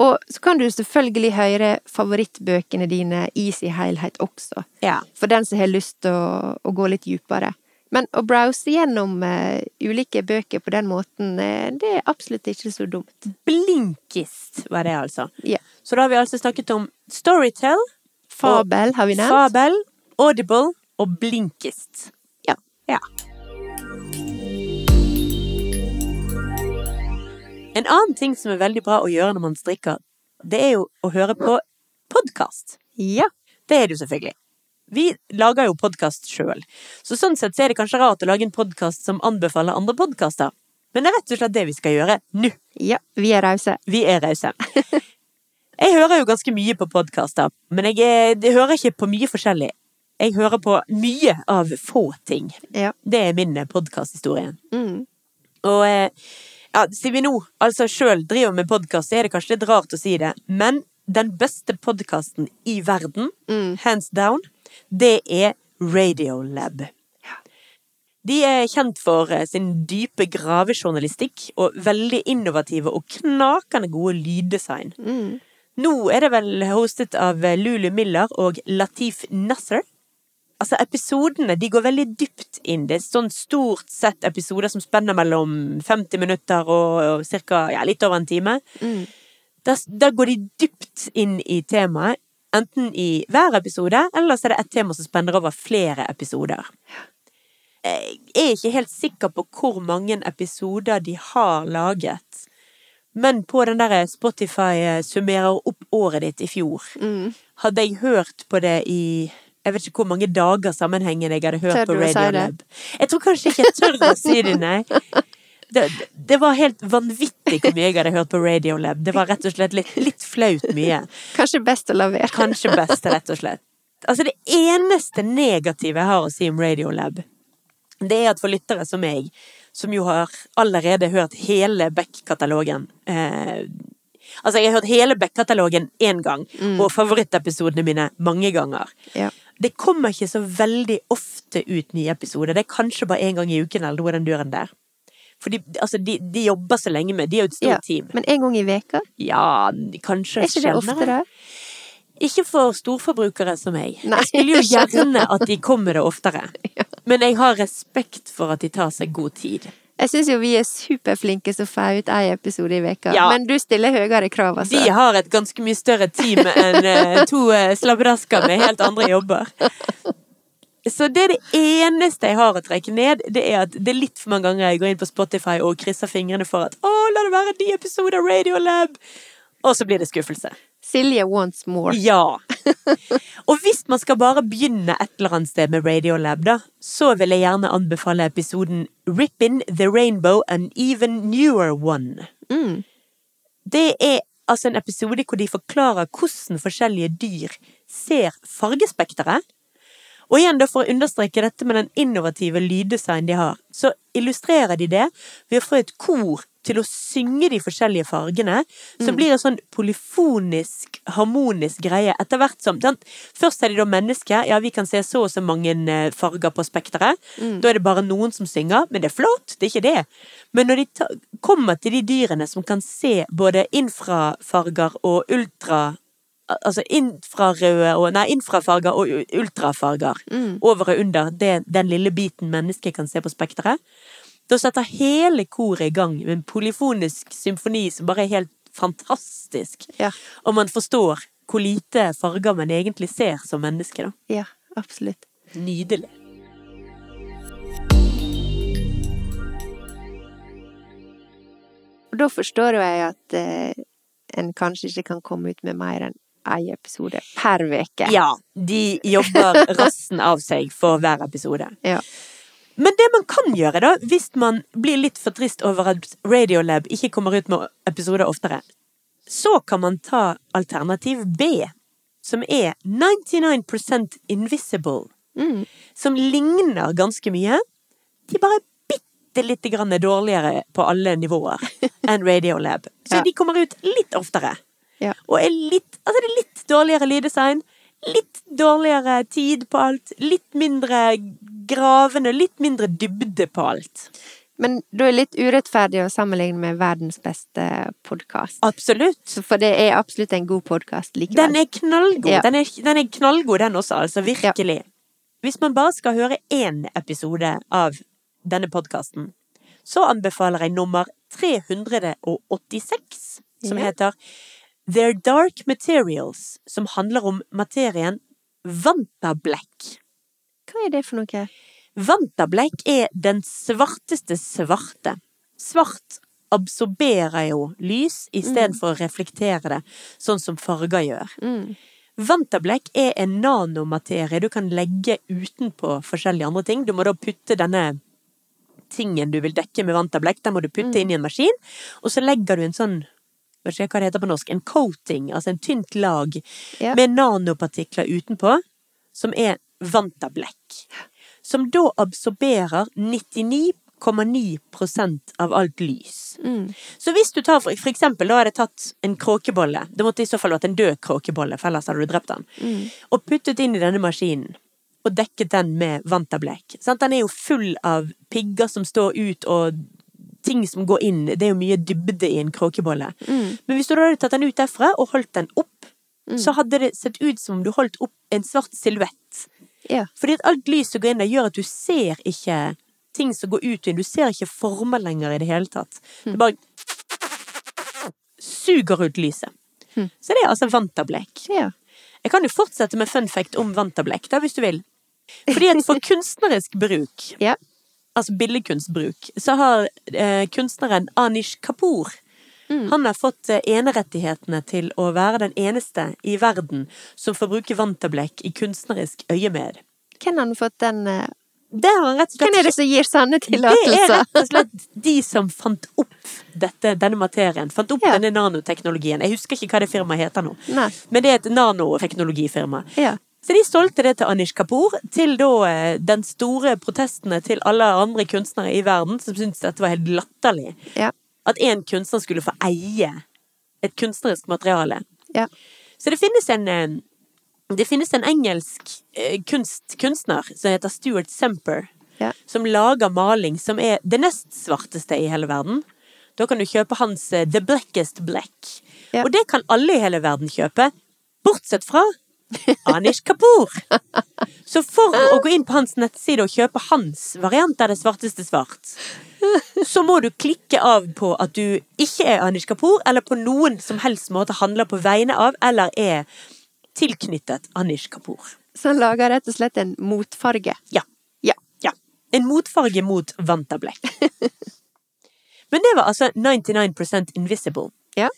Speaker 1: Og så kan du selvfølgelig høre favorittbøkene dine i sin helhet også.
Speaker 2: Ja.
Speaker 1: for den som har lyst til å, å gå litt dypere. Men å browse gjennom eh, ulike bøker på den måten, eh, det er absolutt ikke så dumt.
Speaker 2: Blinkist var det, altså.
Speaker 1: Ja.
Speaker 2: Så da har vi altså snakket om Storytel,
Speaker 1: Fabel har vi nevnt.
Speaker 2: Fabel, Audible og Blinkist.
Speaker 1: Ja.
Speaker 2: ja. En annen ting som er veldig bra å gjøre når man strikker, det er jo å høre på podkast.
Speaker 1: ja.
Speaker 2: Det er det jo selvfølgelig. Vi lager jo podkast sjøl, så sånn sett så er det kanskje rart å lage en podkast som anbefaler andre podkaster. Men det er rett og slett det vi skal gjøre nå.
Speaker 1: Ja, vi er rause.
Speaker 2: Vi er rause. Jeg hører jo ganske mye på podkaster, men jeg, er- jeg hører ikke på mye forskjellig. Jeg hører på mye av få ting.
Speaker 1: Ja.
Speaker 2: Det er min podkasthistorie.
Speaker 1: Mm.
Speaker 2: Og eh, ja, siden vi nå altså sjøl driver med podkast, så er det kanskje litt rart å si det, men den beste podkasten i verden,
Speaker 1: Mm.
Speaker 2: hands down, det er Radiolab. De er kjent for eh, sin dype gravejournalistikk og veldig innovative og knakende gode lyddesign.
Speaker 1: Mm.
Speaker 2: Nå er det vel hostet av eh, Lulu Miller og Latif Nasser. Altså, episodene de går veldig dypt inn. Det er sånn stort sett episoder som spenner mellom 50 minutter og, og cirka, ja, litt over en time.
Speaker 1: Mm.
Speaker 2: Der, der går de dypt inn i temaet, enten i hver episode, eller så er det et tema som spenner over flere episoder. Jeg er ikke helt sikker på hvor mange episoder de har laget, men på den der Spotify eh, summerer opp året ditt i fjor,
Speaker 1: Mm.
Speaker 2: hadde jeg hørt på det i jeg vet ikke hvor mange dager sammenhengende jeg hadde hørt
Speaker 1: Tør
Speaker 2: på
Speaker 1: du å si
Speaker 2: Radio
Speaker 1: det?
Speaker 2: Lab. Jeg tror kanskje ikke jeg tør å si det, nei. Det, det var helt vanvittig hvor mye jeg hadde hørt på Radio Lab. Det var rett og slett litt, litt flaut mye.
Speaker 1: Kanskje best å la være.
Speaker 2: Kanskje best, rett og slett. Altså, det eneste negative jeg har å si om Radiolab, det er at for lyttere som meg, som jo har allerede hørt hele Beck-katalogen eh, Altså, jeg har hørt hele Beck-katalogen én gang,
Speaker 1: Mm.
Speaker 2: og favorittepisodene mine mange ganger.
Speaker 1: Ja.
Speaker 2: Det kommer ikke så veldig ofte ut nye episoder. Det er kanskje bare én gang i uken eller noe i den døren der. For de, altså, de, de jobber så lenge med De er jo et stort
Speaker 1: Ja.
Speaker 2: team.
Speaker 1: Men en gang i veka?
Speaker 2: Ja, kanskje
Speaker 1: Er ikke det oftere?
Speaker 2: ikke for storforbrukere som meg.
Speaker 1: Nei,
Speaker 2: jeg skulle jo
Speaker 1: jeg skjønner.
Speaker 2: gjerne at de kom med det oftere. Men jeg har respekt for at de tar seg god tid.
Speaker 1: Jeg syns jo vi er superflinke som får ut én episode i veka,
Speaker 2: Ja.
Speaker 1: men du stiller høyere krav, altså.
Speaker 2: De har et ganske mye større team enn eh, to eh, slabbedasker med helt andre jobber. Så det er det eneste jeg har å trekke ned, det er at det er litt for mange ganger jeg går inn på Spotify og krysser fingrene for at 'Å, la det være en ny episode av Radiolab', og så blir det skuffelse.
Speaker 1: Silje wants more.
Speaker 2: Ja. Og hvis man skal bare begynne et eller annet sted med Radiolab, da, så vil jeg gjerne anbefale episoden Rip in the Rainbow An Even Newer One.
Speaker 1: Mm.
Speaker 2: Det er altså en episode hvor de forklarer hvordan forskjellige dyr ser fargespekteret. Og igjen, da for å understreke dette med den innovative lyddesign de har, så illustrerer de det ved å få et kor til å synge de forskjellige fargene, så
Speaker 1: Mm.
Speaker 2: blir det sånn polyfonisk, harmonisk greie etter hvert som den, Først er de da mennesker. Ja, vi kan se så og så mange eh, farger på spekteret.
Speaker 1: Mm.
Speaker 2: Da er det bare noen som synger, men det er flott, det er ikke det. Men når de ta, kommer til de dyrene som kan se både infrafarger og ultra al- Altså infrarøde og Nei, infrafarger og u- ultrafarger.
Speaker 1: Mm.
Speaker 2: Over og under det, den lille biten mennesket kan se på spekteret. Da setter hele koret i gang med en polyfonisk symfoni som bare er helt fantastisk.
Speaker 1: Ja.
Speaker 2: Og man forstår hvor lite farger man egentlig ser som menneske, da.
Speaker 1: ja, absolutt.
Speaker 2: Nydelig.
Speaker 1: Og da forstår jo jeg at eh, en kanskje ikke kan komme ut med mer enn én episode per uke.
Speaker 2: Ja, de jobber rassen av seg for hver episode.
Speaker 1: Ja.
Speaker 2: Men det man kan gjøre, da, hvis man blir litt for trist over at Radiolab ikke kommer ut med episoder oftere, så kan man ta alternativ B, som er 99 Invisible,
Speaker 1: Mm.
Speaker 2: som ligner ganske mye. De bare er bitte lite grann dårligere på alle nivåer enn Radiolab. Så
Speaker 1: Ja.
Speaker 2: de kommer ut litt oftere
Speaker 1: Ja.
Speaker 2: og er litt Altså, det er litt dårligere lyddesign. Litt dårligere tid på alt. Litt mindre gravende. Litt mindre dybde på alt.
Speaker 1: Men da er det litt urettferdig å sammenligne med verdens beste podkast.
Speaker 2: Absolutt.
Speaker 1: For det er absolutt en god podkast likevel.
Speaker 2: Den er knallgod.
Speaker 1: Ja.
Speaker 2: Den, er, den er knallgod, den også, altså. Virkelig. Hvis man bare skal høre én episode av denne podkasten, så anbefaler jeg nummer 386, som
Speaker 1: Ja.
Speaker 2: heter Their Dark Materials, som handler om materien Vantablack.
Speaker 1: Hva er det for noe?
Speaker 2: Vantableik er den svarteste svarte. Svart absorberer jo lys istedenfor å reflektere det, sånn som farger gjør.
Speaker 1: Mm.
Speaker 2: Vantableik er en nanomaterie du kan legge utenpå forskjellige andre ting. Du må da putte denne tingen du vil dekke med vantableik, den må du putte inn i en maskin, og så legger du en sånn Vet ikke hva det heter på norsk. En coating, altså en tynt lag
Speaker 1: Ja.
Speaker 2: med nanopartikler utenpå, som er vantableik som da absorberer 99,9 av alt lys.
Speaker 1: Mm.
Speaker 2: Så hvis du tar for, for eksempel, da hadde jeg tatt en kråkebolle, det måtte i så fall vært en død kråkebolle, for ellers hadde du drept den,
Speaker 1: Mm.
Speaker 2: og puttet inn i denne maskinen, og dekket den med vantablek. Sant? Den er jo full av pigger som står ut, og ting som går inn, det er jo mye dybde i en kråkebolle.
Speaker 1: Mm.
Speaker 2: Men hvis du da hadde tatt den ut derfra, og holdt den opp, så hadde det sett ut som om du holdt opp en svart silhuett.
Speaker 1: Ja.
Speaker 2: Fordi at alt lys som går inn der, gjør at du ser ikke ting som går ut og inn. Du ser ikke former lenger i det hele tatt.
Speaker 1: Hmm.
Speaker 2: Det bare suger ut lyset.
Speaker 1: Mm.
Speaker 2: Så det er altså vantablek.
Speaker 1: ja.
Speaker 2: Jeg kan jo fortsette med fun fact om vantablek, da, hvis du vil. Fordi at for kunstnerisk bruk,
Speaker 1: Ja.
Speaker 2: altså billedkunstbruk, så har eh, kunstneren Anish Kapoor
Speaker 1: Hmm.
Speaker 2: han har fått eh, enerettighetene til å være den eneste i verden som får bruke vantablek i kunstnerisk øyemed.
Speaker 1: Hvem har fått den eh,
Speaker 2: Det har han rett og slett
Speaker 1: Hvem er det som gir sanne
Speaker 2: det er
Speaker 1: tillatelser?
Speaker 2: rett og slett de som fant opp dette, denne materien. Fant opp
Speaker 1: Ja.
Speaker 2: denne nanoteknologien. Jeg husker ikke hva det firmaet heter nå.
Speaker 1: Nei.
Speaker 2: Men det er et nanoteknologifirma.
Speaker 1: Ja.
Speaker 2: Så de solgte det til Anish Kapoor, til da eh, den store protestene til alle andre kunstnere i verden som syntes dette var helt latterlig.
Speaker 1: Ja.
Speaker 2: At én kunstner skulle få eie et kunstnerisk materiale.
Speaker 1: Ja.
Speaker 2: Så det finnes en eh, det finnes en engelsk eh, kunst, kunstner som heter Stuart Semper,
Speaker 1: Ja.
Speaker 2: som lager maling som er det nest svarteste i hele verden. Da kan du kjøpe hans eh, The Blackest Black.
Speaker 1: Ja.
Speaker 2: Og det kan alle i hele verden kjøpe, bortsett fra Anish Kapoor. Så for å gå inn på hans nettside og kjøpe hans variant av det svarteste svart, så må du klikke av på at du ikke er Anish Kapoor, eller på noen som helst måte handler på vegne av, eller er tilknyttet Anish Kapoor.
Speaker 1: Så han lager rett og slett en motfarge.
Speaker 2: Ja.
Speaker 1: Ja.
Speaker 2: ja. En motfarge mot vantablekk. Men det var altså 99 invisible.
Speaker 1: Ja.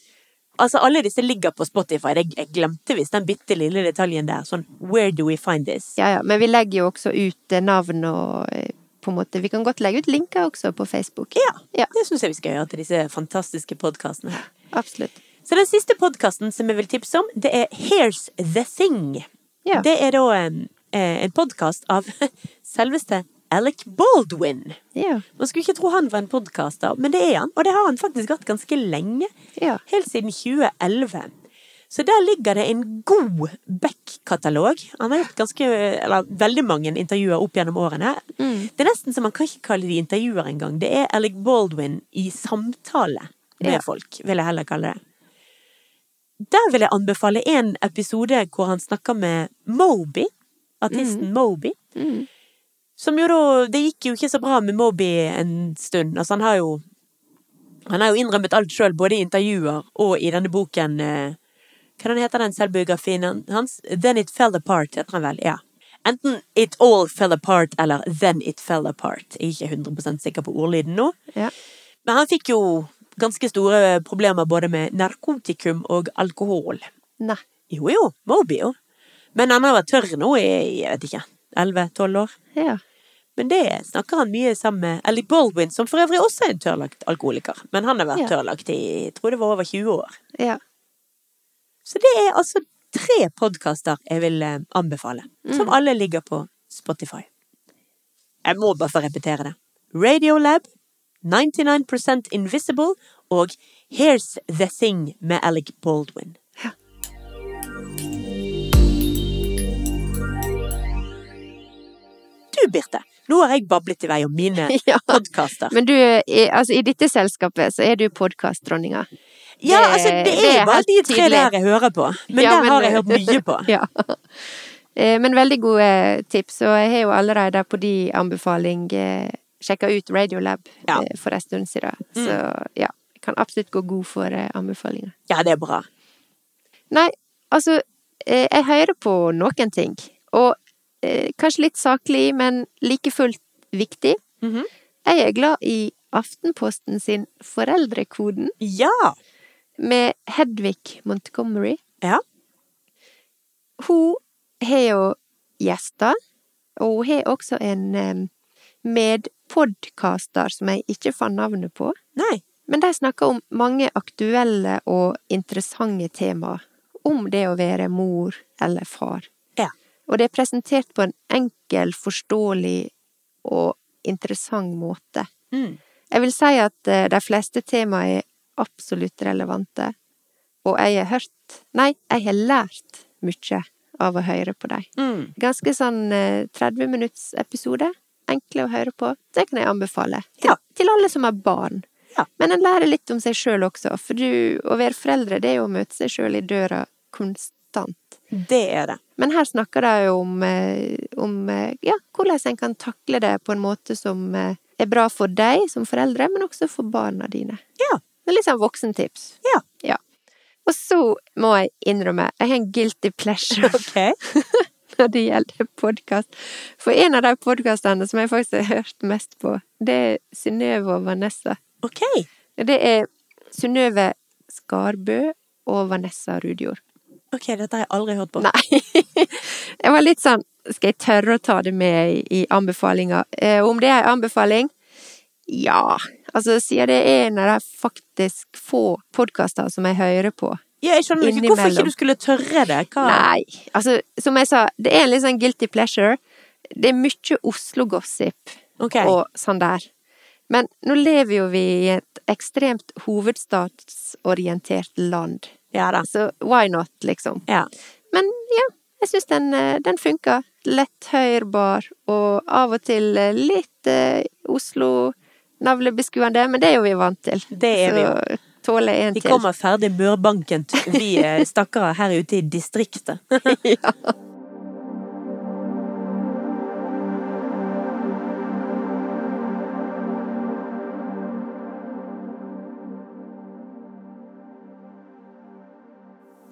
Speaker 2: Altså, alle disse ligger på Spotify. Jeg, jeg glemte visst den bitte lille detaljen der. Sånn, where do we find this?
Speaker 1: ja, ja. Men vi legger jo også ut eh, navn og eh, på en måte Vi kan godt legge ut linker også på Facebook.
Speaker 2: Ja.
Speaker 1: Ja.
Speaker 2: Det syns jeg vi skal gjøre til disse fantastiske podkastene her.
Speaker 1: Absolutt.
Speaker 2: Så den siste podkasten som jeg vil tipse om, det er Here's The Thing.
Speaker 1: Ja.
Speaker 2: Det er da en, eh, en podkast av selveste Alec Baldwin.
Speaker 1: Ja.
Speaker 2: Man skulle ikke tro han var en podcaster, men det er han. Og det har han faktisk hatt ganske lenge.
Speaker 1: Ja.
Speaker 2: Helt siden 2011. Så der ligger det en god Beck-katalog. Han har gjort ganske, eller veldig mange intervjuer opp gjennom årene.
Speaker 1: Mm.
Speaker 2: Det er nesten så man kan ikke kalle de intervjuer engang. Det er Alec Baldwin i samtale med
Speaker 1: Ja.
Speaker 2: folk, vil jeg heller kalle det. Der vil jeg anbefale en episode hvor han snakker med Moby, artisten Moby.
Speaker 1: Mm.
Speaker 2: Som jo da Det gikk jo ikke så bra med Moby en stund. Altså, han har jo Han har jo innrømmet alt sjøl, både i intervjuer og i denne boken eh, Hva den heter den selvbiografien han- hans? Then It Fell Apart, heter han vel. Ja. Enten It All Fell Apart eller Then It Fell Apart. Jeg er ikke 100 sikker på ordlyden nå.
Speaker 1: Ja.
Speaker 2: Men han fikk jo ganske store problemer både med narkotikum og alkohol.
Speaker 1: Nei.
Speaker 2: Jo jo, Moby jo. Men han har vært tørr nå i, jeg vet ikke, 11-12 år.
Speaker 1: Ja.
Speaker 2: Men det snakker han mye sammen med Ellie Baldwin, som for øvrig også er en tørrlagt alkoholiker. Men han har vært
Speaker 1: Ja.
Speaker 2: tørrlagt i jeg tror det var over 20 år.
Speaker 1: Ja.
Speaker 2: Så det er altså tre podkaster jeg vil eh, anbefale,
Speaker 1: Mm.
Speaker 2: som alle ligger på Spotify. Jeg må bare få repetere det. Radiolab, 99% Invisible og Here's The Thing med Alec Baldwin. Du, Birte, nå har jeg bablet i vei om mine
Speaker 1: ja.
Speaker 2: podkaster.
Speaker 1: Men du, i, altså, i dette selskapet så er du podkastdronninga.
Speaker 2: Ja,
Speaker 1: Det-
Speaker 2: altså, det
Speaker 1: det
Speaker 2: er jo
Speaker 1: er
Speaker 2: bare
Speaker 1: helt
Speaker 2: de tre
Speaker 1: tydelig.
Speaker 2: der jeg hører på. Men
Speaker 1: Ja,
Speaker 2: der har jeg
Speaker 1: eh,
Speaker 2: hørt mye på.
Speaker 1: ja. Eh, Men veldig gode tips, og jeg har jo allerede på de anbefaling eh, sjekka ut Radiolab
Speaker 2: Ja. Mm.
Speaker 1: eh, for en stund siden. Så ja, jeg kan absolutt gå god for eh, anbefalinger.
Speaker 2: Ja, det er bra.
Speaker 1: Nei, altså, eh, jeg hører på noen ting, og eh, kanskje litt saklig, men like fullt viktig.
Speaker 2: Mhm.
Speaker 1: Jeg er glad i Aftenposten sin Foreldrekoden
Speaker 2: Ja.
Speaker 1: med Hedvig Montgomery.
Speaker 2: Ja.
Speaker 1: Hun har jo gjester, og hun har også en em, medpodcaster som jeg ikke fant navnet på.
Speaker 2: Nei.
Speaker 1: Men de snakker om mange aktuelle og interessante temaer. Om det å være mor eller far.
Speaker 2: Ja.
Speaker 1: Og det er presentert på en enkel, forståelig og interessant måte.
Speaker 2: Mm.
Speaker 1: Jeg vil si at eh, de fleste temaer er absolutt relevante, og jeg har hørt Nei, jeg har lært mye av å høre på dem.
Speaker 2: Mm.
Speaker 1: Ganske sånn eh, 30 minutts episode. Enkle å høre på. Det kan jeg anbefale til,
Speaker 2: Ja.
Speaker 1: til alle som har barn.
Speaker 2: Ja.
Speaker 1: Men en lærer litt om seg sjøl også, for du, å være foreldre det er jo å møte seg sjøl i døra konstant.
Speaker 2: Det er det.
Speaker 1: Men her snakker de jo om, eh, om eh, ja, hvordan en kan takle det på en måte som eh, er bra for deg som foreldre, men også for barna dine.
Speaker 2: Ja.
Speaker 1: Det er litt sånn voksentips.
Speaker 2: Ja.
Speaker 1: Og så må jeg innrømme, jeg har en guilty pleasure
Speaker 2: Ok.
Speaker 1: når det gjelder podkast. For en av de podkastene som jeg faktisk har hørt mest på, det er Synnøve og Vanessa.
Speaker 2: Ok.
Speaker 1: Det er Synnøve Skarbø og Vanessa Rudjord.
Speaker 2: Ok, dette har jeg aldri hørt på.
Speaker 1: Nei. Jeg var litt sånn Skal jeg tørre å ta det med i, i anbefalinga? Eh, om det er en anbefaling? Ja. Altså, siden det er en av de faktisk få podkaster som jeg hører på.
Speaker 2: Ja, jeg skjønner ikke hvorfor ikke
Speaker 1: Innimellom.
Speaker 2: du skulle tørre det. Hva?
Speaker 1: Nei. Altså, som jeg sa, det er en litt sånn guilty pleasure. Det er mye Oslo-gossip
Speaker 2: Ok.
Speaker 1: og sånn der. Men nå lever jo vi i et ekstremt hovedstadsorientert land.
Speaker 2: Ja da.
Speaker 1: Så why not, liksom?
Speaker 2: Ja.
Speaker 1: Men ja, jeg syns den, eh, den funker. Lett høyrbar, og av og til eh, litt eh, Oslo-navlebeskuende, men det er jo vi vant til.
Speaker 2: Det er vi jo.
Speaker 1: Så tåler en
Speaker 2: Vi
Speaker 1: til.
Speaker 2: kommer ferdig mørbankent, vi eh, stakkarer her ute i distriktet.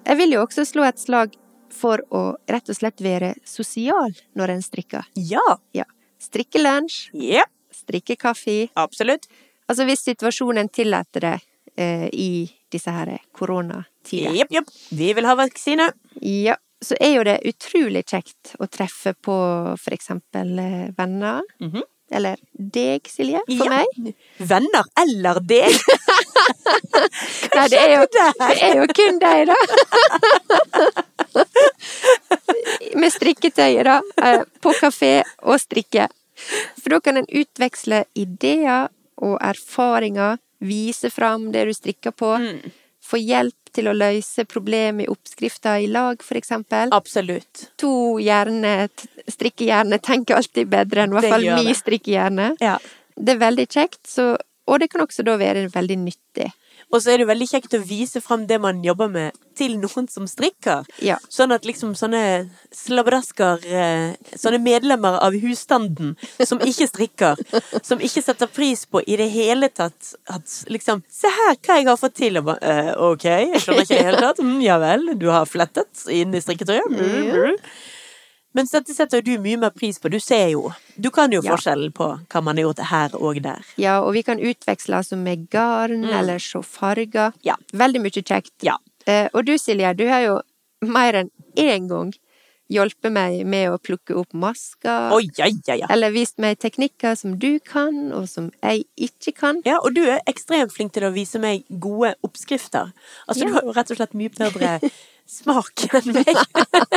Speaker 1: Jeg vil jo også slå et slag for å rett og slett være sosial når en strikker.
Speaker 2: Ja.
Speaker 1: Ja. Strikke lunsj,
Speaker 2: Ja,
Speaker 1: strikke kaffe.
Speaker 2: absolutt.
Speaker 1: Altså hvis situasjonen tillater det eh, i disse her koronatider.
Speaker 2: Jepp, jepp. Vi vil ha vaksine.
Speaker 1: Ja, så er jo det utrolig kjekt å treffe på for eksempel eh, venner.
Speaker 2: Mhm.
Speaker 1: Eller deg, Silje, for
Speaker 2: Ja.
Speaker 1: meg.
Speaker 2: Venner eller deg.
Speaker 1: Nei, det er jo,
Speaker 2: skjedde der?
Speaker 1: det er jo kun deg, da. Med strikketøyet, da. eh, På kafé og strikke. For For da kan en utveksle ideer og erfaringer, vise fram det du strikker på,
Speaker 2: Mm.
Speaker 1: få hjelp til å løse problemer i oppskrifter i lag, for eksempel.
Speaker 2: Absolutt.
Speaker 1: To hjerne, strikkehjerne tenker alltid bedre enn i
Speaker 2: Det
Speaker 1: hvert fall
Speaker 2: gjør
Speaker 1: min
Speaker 2: det.
Speaker 1: strikkehjerne.
Speaker 2: Ja.
Speaker 1: Det er veldig kjekt, så, og det kan også da være veldig nyttig.
Speaker 2: Og så er det veldig kjekt å vise fram det man jobber med, til noen som strikker.
Speaker 1: Ja.
Speaker 2: Sånn at liksom sånne slabbedasker, eh, sånne medlemmer av husstanden som ikke strikker, som ikke setter pris på i det hele tatt at liksom Se her hva jeg har fått til! Og bare eh, OK, jeg skjønner ikke i det hele tatt. Mm, ja vel, du har flettet inn i strikketøyet. Mm, mm. Mens dette setter jo du mye mer pris på. Du ser jo. Du kan jo
Speaker 1: Ja.
Speaker 2: forskjellen på hva man har gjort her og der.
Speaker 1: Ja, og vi kan utveksle altså med garn, eller se farger.
Speaker 2: Mm. Ja.
Speaker 1: Veldig mye kjekt.
Speaker 2: Ja.
Speaker 1: Eh, og du Silje, du har jo mer enn én gang hjulpet meg med å plukke opp masker.
Speaker 2: Å, ja, ja, ja.
Speaker 1: Eller vist meg teknikker som du kan, og som jeg ikke kan.
Speaker 2: Ja, og du er ekstremt flink til å vise meg gode oppskrifter. Altså,
Speaker 1: Ja.
Speaker 2: du har jo rett og slett mye bedre smak enn meg.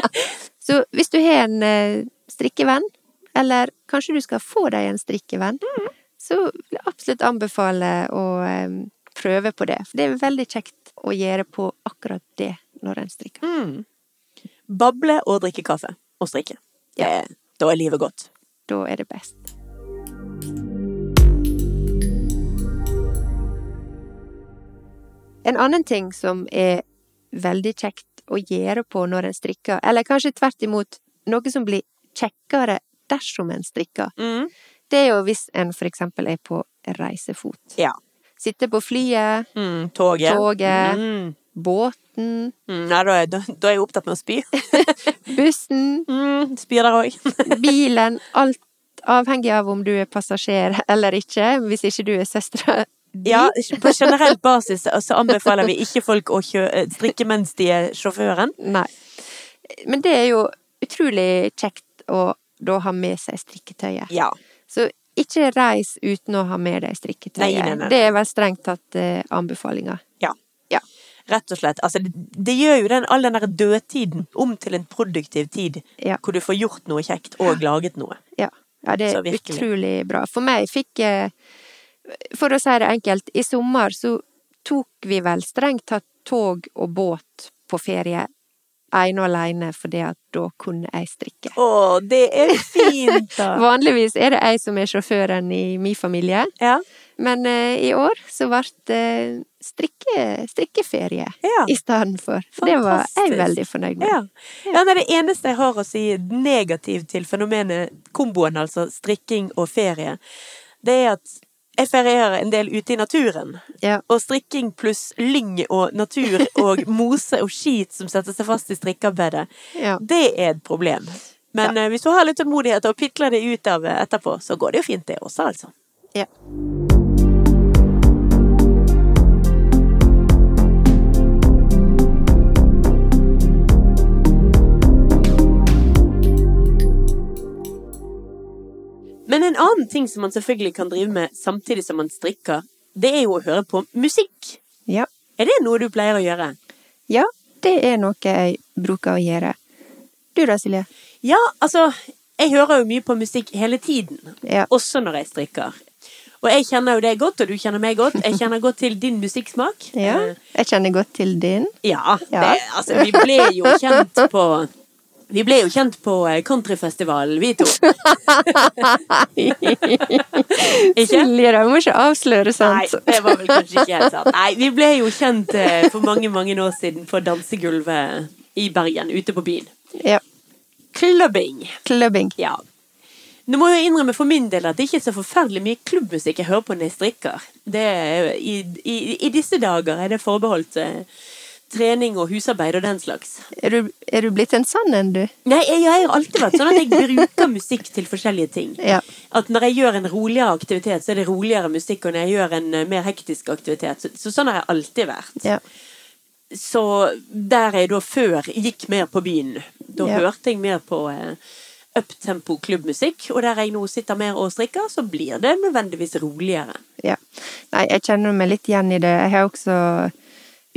Speaker 1: Så hvis du har en eh, strikkevenn, eller kanskje du skal få deg en strikkevenn,
Speaker 2: Mm.
Speaker 1: så vil jeg absolutt anbefale å eh, prøve på det. For det er veldig kjekt å gjøre på akkurat det når en strikker.
Speaker 2: Mm. Bable og drikke kaffe. Og strikke. Det, Da er livet godt.
Speaker 1: Da er det best. En annen ting som er veldig kjekt å gjøre på når en strikker, eller kanskje tvert imot noe som blir kjekkere dersom en strikker,
Speaker 2: Mm.
Speaker 1: det er jo hvis en for eksempel er på reisefot.
Speaker 2: Ja.
Speaker 1: Sitter på flyet,
Speaker 2: Mm, toget.
Speaker 1: Toget.
Speaker 2: Mm.
Speaker 1: båten,
Speaker 2: Mm, nei, da er, da, da er jeg opptatt med å spy.
Speaker 1: bussen,
Speaker 2: Mm, spyr der òg.
Speaker 1: bilen, alt avhengig av om du er passasjer eller ikke, hvis ikke du er søstera di.
Speaker 2: Ja, på generell basis eh, så anbefaler vi ikke folk å kjø eh, strikke mens de er sjåføren.
Speaker 1: Nei. Men det er jo utrolig kjekt å da ha med seg strikketøyet.
Speaker 2: Ja.
Speaker 1: Så ikke reis uten å ha med deg strikketøyet.
Speaker 2: Nei, nei, nei.
Speaker 1: Det er vel strengt tatt eh, anbefalinga.
Speaker 2: Rett og slett. Altså, det, det gjør jo den, all den der dødtiden om til en produktiv tid.
Speaker 1: Ja.
Speaker 2: Hvor du får gjort noe kjekt og laget noe.
Speaker 1: Ja. ja, det
Speaker 2: Så
Speaker 1: er
Speaker 2: virkelig.
Speaker 1: utrolig bra. For meg fikk eh, For å si det enkelt, i sommer så tok vi vel strengt tatt tog og båt på ferie ene og alene, fordi at da kunne jeg strikke.
Speaker 2: Å, det er fint, da!
Speaker 1: Vanligvis er det jeg som er sjåføren i min familie.
Speaker 2: Ja.
Speaker 1: Men eh, i år så ble det strikke, strikkeferie
Speaker 2: ja.
Speaker 1: i stedet for. For det var jeg
Speaker 2: Fantastisk.
Speaker 1: veldig fornøyd med.
Speaker 2: Ja. ja nei, det eneste jeg har å si negativt til fenomenet komboen, altså strikking og ferie, det er at jeg ferierer en del ute i naturen.
Speaker 1: Ja.
Speaker 2: Og strikking pluss lyng og natur og mose og skit som setter seg fast i strikkearbeidet,
Speaker 1: Ja.
Speaker 2: det er et problem. Men eh, hvis du har litt tålmodighet og pitler det ut av eh, etterpå, så går det jo fint det også, altså.
Speaker 1: Ja.
Speaker 2: Men en annen ting som man selvfølgelig kan drive med samtidig som man strikker, det er jo å høre på musikk.
Speaker 1: Ja.
Speaker 2: Er det noe du pleier å gjøre?
Speaker 1: ja, det er noe jeg bruker å gjøre. Du da, Silje?
Speaker 2: Ja, altså, jeg hører jo mye på musikk hele tiden.
Speaker 1: Ja.
Speaker 2: Også når jeg strikker. Og jeg kjenner jo deg godt, og du kjenner meg godt. Jeg kjenner godt til din musikksmak.
Speaker 1: ja.
Speaker 2: Eh,
Speaker 1: Jeg kjenner godt til din.
Speaker 2: Ja,
Speaker 1: Ja.
Speaker 2: Det, altså vi ble jo kjent på Vi ble jo kjent på eh, countryfestivalen, vi to. Ikke?
Speaker 1: Silje, da. Du må ikke avsløre
Speaker 2: Nei,
Speaker 1: sånt.
Speaker 2: det var vel kanskje ikke helt sant. Nei, vi ble jo kjent eh, for mange, mange år siden på dansegulvet i Bergen, ute på byen.
Speaker 1: Ja.
Speaker 2: Clubbing.
Speaker 1: Clubbing.
Speaker 2: Ja. Nå må jeg innrømme for min del at det ikke er så forferdelig mye klubbmusikk jeg hører på når jeg strikker. Det er, i, i, I disse dager er det forbeholdt eh, trening og husarbeid og den slags.
Speaker 1: Er du, er du blitt en sann en, du?
Speaker 2: Nei, jeg, jeg har alltid vært sånn at jeg bruker musikk til forskjellige ting.
Speaker 1: Ja.
Speaker 2: At når jeg gjør en roligere aktivitet, så er det roligere musikk, og når jeg gjør en eh, mer hektisk aktivitet, så, så sånn har jeg alltid vært.
Speaker 1: Ja.
Speaker 2: Så der jeg da før gikk mer på byen, da
Speaker 1: Ja.
Speaker 2: hørte jeg mer på eh, uptempo klubbmusikk, og der jeg nå sitter mer og strikker, så blir det nødvendigvis roligere.
Speaker 1: Ja. Nei, jeg kjenner meg litt igjen i det. Jeg har også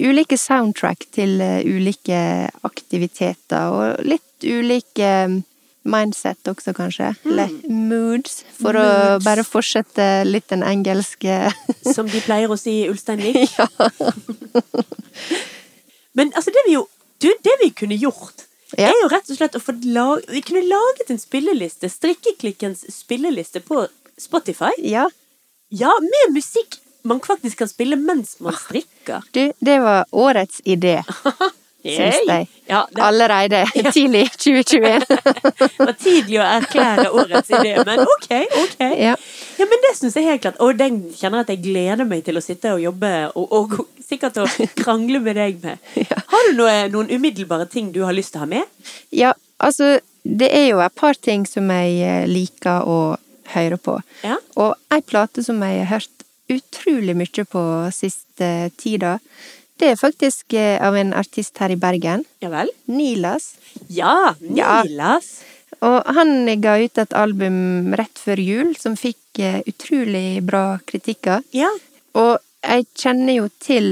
Speaker 1: ulike soundtrack til eh, ulike aktiviteter, og litt ulike eh, mindset også, kanskje. Eller moods, for å
Speaker 2: Hmm. Moods.
Speaker 1: bare fortsette litt den engelske
Speaker 2: Som de pleier å si i Ulsteinvik. Men altså, det vi jo Du, det vi kunne gjort,
Speaker 1: Ja.
Speaker 2: er jo rett og slett å få lag, Vi kunne laget en spilleliste, Strikkeklikkens spilleliste, på Spotify.
Speaker 1: Ja.
Speaker 2: Ja, med musikk man faktisk kan spille mens
Speaker 1: Ah,
Speaker 2: man strikker.
Speaker 1: Du, det var årets idé, syns
Speaker 2: Yay!
Speaker 1: jeg.
Speaker 2: Ja, det
Speaker 1: Allerede tidlig 2021.
Speaker 2: var tidlig å erklære årets idé, men ok, ok.
Speaker 1: Ja.
Speaker 2: Ja, men det syns jeg helt klart. Og den kjenner jeg at jeg gleder meg til å sitte og jobbe, og, og sikkert å krangle med deg med. Har du noe, noen umiddelbare ting du har lyst til å ha med?
Speaker 1: Ja, altså det er jo et par ting som jeg eh, liker å høre på.
Speaker 2: Ja.
Speaker 1: Og ei plate som jeg har hørt utrolig mye på siste tida, det er faktisk eh, av en artist her i Bergen,
Speaker 2: Ja vel?
Speaker 1: Nilas.
Speaker 2: Ja,
Speaker 1: Ja.
Speaker 2: Nilas.
Speaker 1: Og han ga ut et album rett før jul som fikk eh, utrolig bra kritikker.
Speaker 2: Ja.
Speaker 1: Og jeg kjenner jo til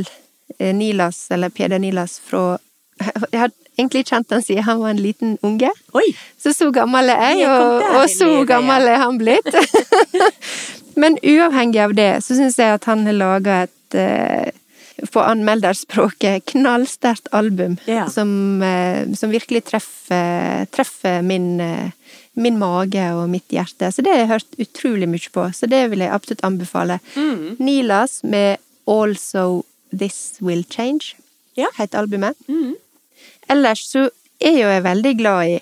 Speaker 1: eh, Nilas, eller Peder Nilas, fra Jeg har egentlig kjent han siden han var en liten unge.
Speaker 2: Oi.
Speaker 1: Så så gammel er jeg,
Speaker 2: Ja, kom
Speaker 1: og,
Speaker 2: der
Speaker 1: og
Speaker 2: i
Speaker 1: så
Speaker 2: livet,
Speaker 1: gammel er han blitt. Men uavhengig av det, så syns jeg at han har laga et eh, på anmelderspråket knallsterkt album
Speaker 2: Ja.
Speaker 1: som, eh, som virkelig treffer, treffer min, eh, min mage og mitt hjerte. Så det har jeg hørt utrolig mye på, så det vil jeg absolutt anbefale.
Speaker 2: Mm.
Speaker 1: Nilas med 'Also This Will Change'
Speaker 2: Ja. Mm.
Speaker 1: heter albumet. Ellers så er jo jeg veldig glad i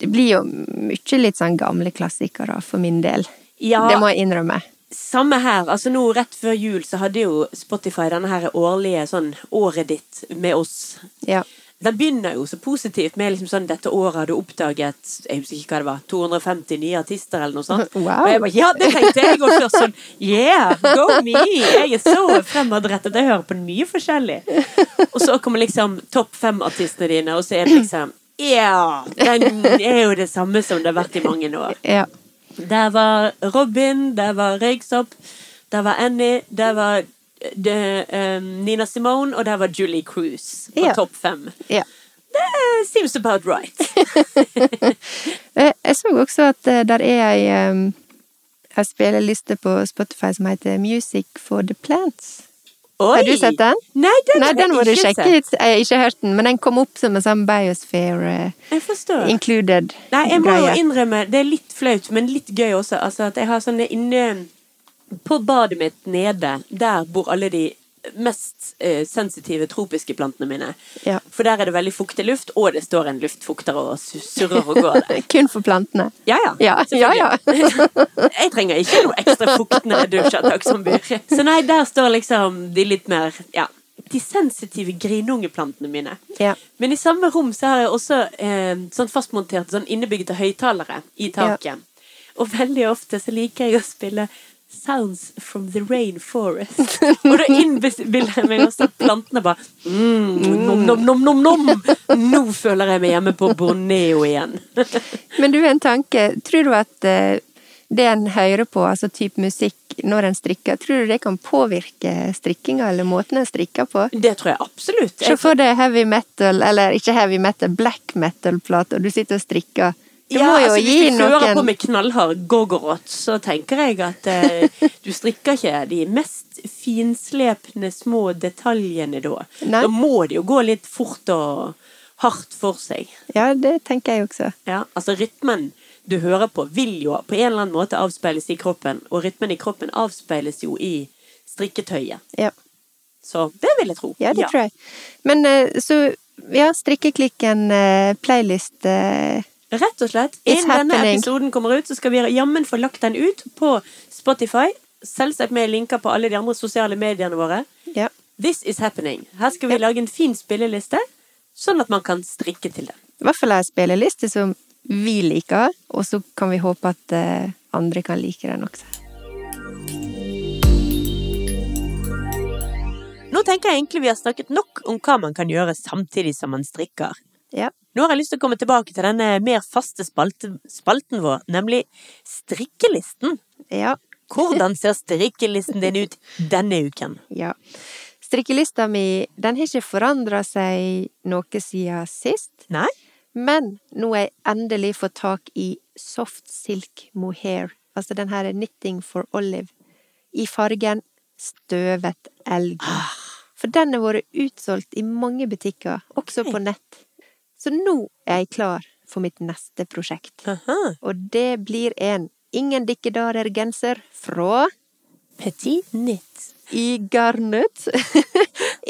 Speaker 1: Det blir jo mye litt sånn gamle klassikere for min del.
Speaker 2: Ja.
Speaker 1: Det må jeg innrømme.
Speaker 2: Samme her. altså nå Rett før jul så hadde jo Spotify denne her årlige sånn Året ditt med oss.
Speaker 1: Ja.
Speaker 2: Den begynner jo så positivt med liksom sånn Dette året har du oppdaget jeg husker ikke hva det var, 250 nye artister eller noe sånt.
Speaker 1: Wow.
Speaker 2: Og jeg bare, ja, det tenkte jeg òg først. Sånn Yeah, go me! Jeg er så fremadrettet. Jeg hører på mye forskjellig. Og så kommer liksom topp fem-artistene dine, og så er det liksom Ja! Den er jo det samme som det har vært i mange år.
Speaker 1: ja.
Speaker 2: Der var Robin, der var Røyksopp, der var Annie, der var eh, de, eh, Nina Simone, og der var Julie Cruise på
Speaker 1: Ja.
Speaker 2: topp fem.
Speaker 1: ja.
Speaker 2: Det eh, seems about right.
Speaker 1: Eh, Jeg så også at eh, der er ei um, ei spilleliste på Spotify som heter Music for the Plants.
Speaker 2: Oi!
Speaker 1: Har du sett den?
Speaker 2: Nei, den,
Speaker 1: Nei,
Speaker 2: har
Speaker 1: den må du
Speaker 2: jeg ikke
Speaker 1: sjekke
Speaker 2: sett.
Speaker 1: ut. Jeg har ikke hørt den, men den kom opp som en sånn Biosphere eh,
Speaker 2: Jeg forstår.
Speaker 1: included
Speaker 2: Nei, jeg må jo
Speaker 1: greie.
Speaker 2: innrømme, det er litt flaut, men litt gøy også, altså at jeg har sånne inne På badet mitt nede, der bor alle de mest eh, sensitive tropiske plantene mine.
Speaker 1: Ja.
Speaker 2: For der er det veldig fuktig luft, og det står en luftfukter og surrer og går der.
Speaker 1: Kun for plantene.
Speaker 2: Ja, ja.
Speaker 1: Ja,
Speaker 2: Selvfølgelig.
Speaker 1: ja,
Speaker 2: jeg trenger ikke noe ekstra fukt når jeg dusjer, takk som byr. Så nei, der står liksom de litt mer Ja. De sensitive grinungeplantene mine.
Speaker 1: Ja.
Speaker 2: Men i samme rom så har jeg også eh, sånn fastmonterte, sånn innebygde høyttalere i taket. Og veldig ofte så liker jeg å spille Sounds from the rainforest. Og da innbiller jeg meg også at plantene bare mm, Nom, nom, nom, nom, nom! Nå føler jeg meg hjemme på Borneo igjen.
Speaker 1: Men du, en tanke. Tror du at eh, det en hører på, altså type musikk, når en strikker, tror du det kan påvirke strikkinga, eller måten en strikker på?
Speaker 2: Det tror jeg absolutt.
Speaker 1: Se
Speaker 2: Jeg
Speaker 1: for deg heavy metal, eller ikke heavy metal, black metal-plate, og du sitter og strikker. Du
Speaker 2: ja,
Speaker 1: må jo
Speaker 2: altså,
Speaker 1: gi
Speaker 2: Hvis du fører på
Speaker 1: noen
Speaker 2: med knallhard goggerot, så tenker jeg at eh, du strikker ikke de mest finslepne små detaljene da.
Speaker 1: Nei.
Speaker 2: Da må det jo gå litt fort og hardt for seg.
Speaker 1: Ja, det tenker jeg også.
Speaker 2: Ja, altså rytmen du hører på, vil jo på en eller annen måte avspeiles i kroppen, og rytmen i kroppen avspeiles jo i strikketøyet.
Speaker 1: Ja,
Speaker 2: Så det vil jeg tro.
Speaker 1: ja det tror jeg. Men eh, så Ja, strikkeklikken eh, playlist eh,
Speaker 2: Rett og slett.
Speaker 1: It's
Speaker 2: Innen denne
Speaker 1: happening.
Speaker 2: episoden kommer ut, så skal vi jammen få lagt den ut på Spotify. Selvsagt med linker på alle de andre sosiale mediene våre.
Speaker 1: Ja.
Speaker 2: This is happening. Her skal vi lage en fin spilleliste, sånn at man kan strikke til den.
Speaker 1: I hvert fall ei spilleliste som vi liker, og så kan vi håpe at eh, andre kan like den også.
Speaker 2: Nå tenker jeg egentlig vi har snakket nok om hva man kan gjøre samtidig som man strikker.
Speaker 1: Ja.
Speaker 2: Nå har jeg lyst til å komme tilbake til denne mer faste spalte, spalten vår, nemlig strikkelisten.
Speaker 1: Ja.
Speaker 2: Hvordan ser strikkelisten din ut denne uken?
Speaker 1: ja. Strikkelista mi den har ikke forandra seg noe siden sist.
Speaker 2: Nei?
Speaker 1: Men nå har jeg endelig fått tak i soft silk mohair, altså den her knitting for olive, i fargen støvet elg. For den har vært utsolgt i mange butikker, også
Speaker 2: Ok.
Speaker 1: på nett. Så nå er jeg klar for mitt neste prosjekt,
Speaker 2: Aha.
Speaker 1: og det blir en Ingen dikkedarer-genser fra
Speaker 2: Petit knit.
Speaker 1: i garnet.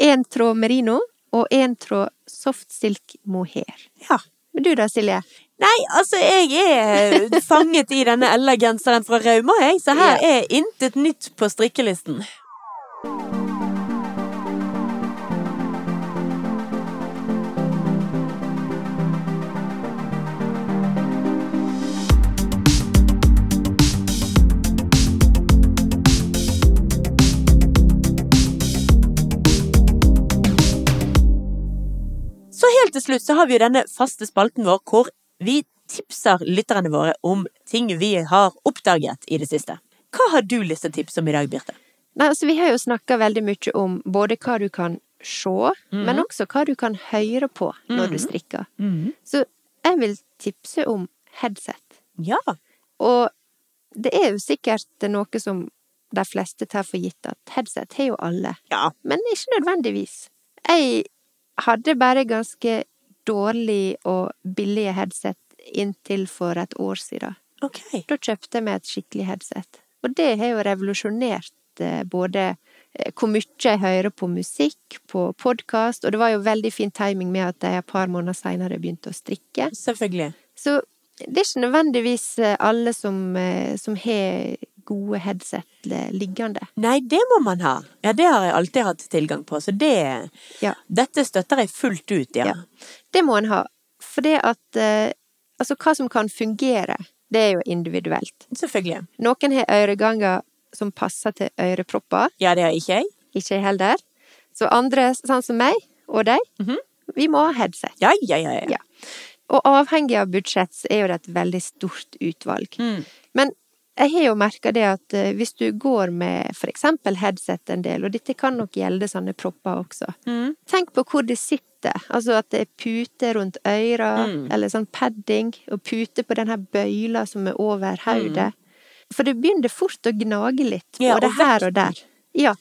Speaker 1: en tråd merino og en tråd soft silk mohair.
Speaker 2: Ja.
Speaker 1: Men du da, Silje?
Speaker 2: Nei, altså, jeg er fanget i denne Ella-genseren fra Rauma, jeg, så her er intet nytt på strikkelisten. Så helt til slutt så har vi jo denne faste spalten vår hvor vi tipser lytterne våre om ting vi har oppdaget i det siste. Hva har du lyst til å tipse om i dag, Birte?
Speaker 1: Nei, altså, vi har jo snakka veldig mye om både hva du kan se, men også hva du kan høre på når du strikker. Så jeg vil tipse om headset.
Speaker 2: Ja.
Speaker 1: Og det er jo sikkert noe som de fleste tar for gitt, at headset har jo alle.
Speaker 2: Ja.
Speaker 1: men ikke nødvendigvis. Jeg hadde bare ganske dårlig og billige headset inntil for et år siden.
Speaker 2: Ok.
Speaker 1: Da kjøpte jeg meg et skikkelig headset. Og det har jo revolusjonert eh, både eh, hvor mye jeg hører på musikk, på podkast, og det var jo veldig fin timing med at jeg et par måneder seinere begynte å strikke.
Speaker 2: Selvfølgelig.
Speaker 1: Så det er ikke nødvendigvis eh, alle som, eh, som har gode headset eh, liggende.
Speaker 2: Nei, det må man ha. Ja, det har jeg alltid hatt tilgang på, så det
Speaker 1: Ja.
Speaker 2: Dette støtter jeg fullt ut, ja.
Speaker 1: Ja. Det må en ha. For det at eh, Altså, hva som kan fungere, det er jo individuelt.
Speaker 2: Selvfølgelig.
Speaker 1: Noen har øreganger som passer til ørepropper,
Speaker 2: Ja, det har ikke jeg.
Speaker 1: ikke jeg heller. Så andre, sånn som meg og deg,
Speaker 2: Mhm.
Speaker 1: vi må ha headset.
Speaker 2: Ja, ja, ja. ja.
Speaker 1: Ja. Og avhengig av budsjett så er jo det et veldig stort utvalg.
Speaker 2: Mm.
Speaker 1: Men jeg har jo merka det at eh, hvis du går med for eksempel headset en del, og dette kan nok gjelde sånne propper også,
Speaker 2: Mm.
Speaker 1: Tenk på hvor det sitter. Altså at det er pute rundt øra,
Speaker 2: Mm.
Speaker 1: eller sånn padding, og pute på den her bøyla som er over hodet. For det begynner fort å gnage litt,
Speaker 2: Mm. Ja,
Speaker 1: både
Speaker 2: og
Speaker 1: her og der. Ja,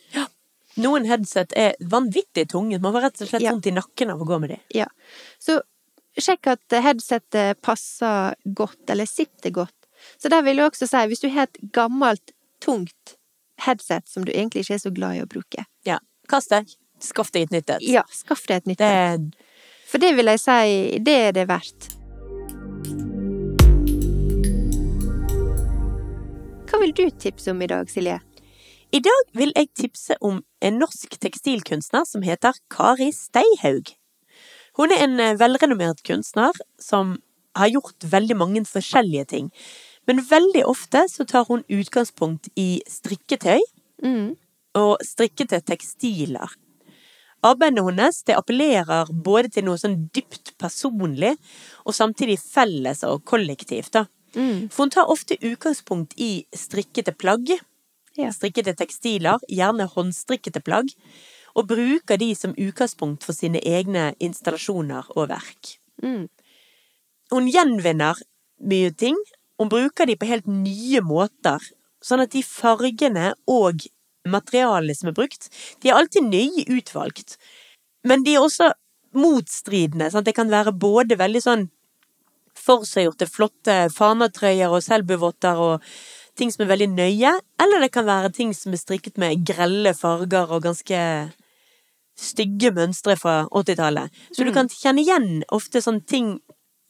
Speaker 2: Noen headset er vanvittig tunge. Man får rett og slett
Speaker 1: Ja.
Speaker 2: vondt i nakken av å gå med dem.
Speaker 1: ja. Så sjekk at headsetet passer godt, eller sitter godt. Så der vil jeg også si, hvis du har et gammelt, tungt headset som du egentlig ikke er så glad i å bruke,
Speaker 2: Ja. Kast deg. Skaff deg et nytt et.
Speaker 1: ja, skaff deg et nytt.
Speaker 2: Det
Speaker 1: et. For det vil jeg si, det er det verdt. Hva vil du tipse om i dag, Silje?
Speaker 2: I dag vil jeg tipse om en norsk tekstilkunstner som heter Kari Steihaug. Hun er en eh, velrenommert kunstner som har gjort veldig mange forskjellige ting. Men veldig ofte så tar hun utgangspunkt i strikketøy
Speaker 1: Mm.
Speaker 2: og strikkete tekstiler. Arbeidet hennes det appellerer både til noe sånn dypt personlig, og samtidig felles og kollektivt. da. For hun tar ofte utgangspunkt i strikkete plagg,
Speaker 1: Ja.
Speaker 2: strikkete tekstiler, gjerne håndstrikkete plagg, og bruker de som utgangspunkt for sine egne installasjoner og verk.
Speaker 1: Mm.
Speaker 2: Hun gjenvinner mye ting, hun bruker de på helt nye måter, sånn at de fargene og materialene som er brukt, de er alltid nøye utvalgt. Men de er også motstridende, sånn at det kan være både veldig sånn forseggjorte, flotte fanatrøyer og selbuvotter og ting som er veldig nøye, eller det kan være ting som er strikket med grelle farger og ganske stygge mønstre fra 80-tallet. Så du
Speaker 1: Mm.
Speaker 2: kan kjenne igjen ofte sånne ting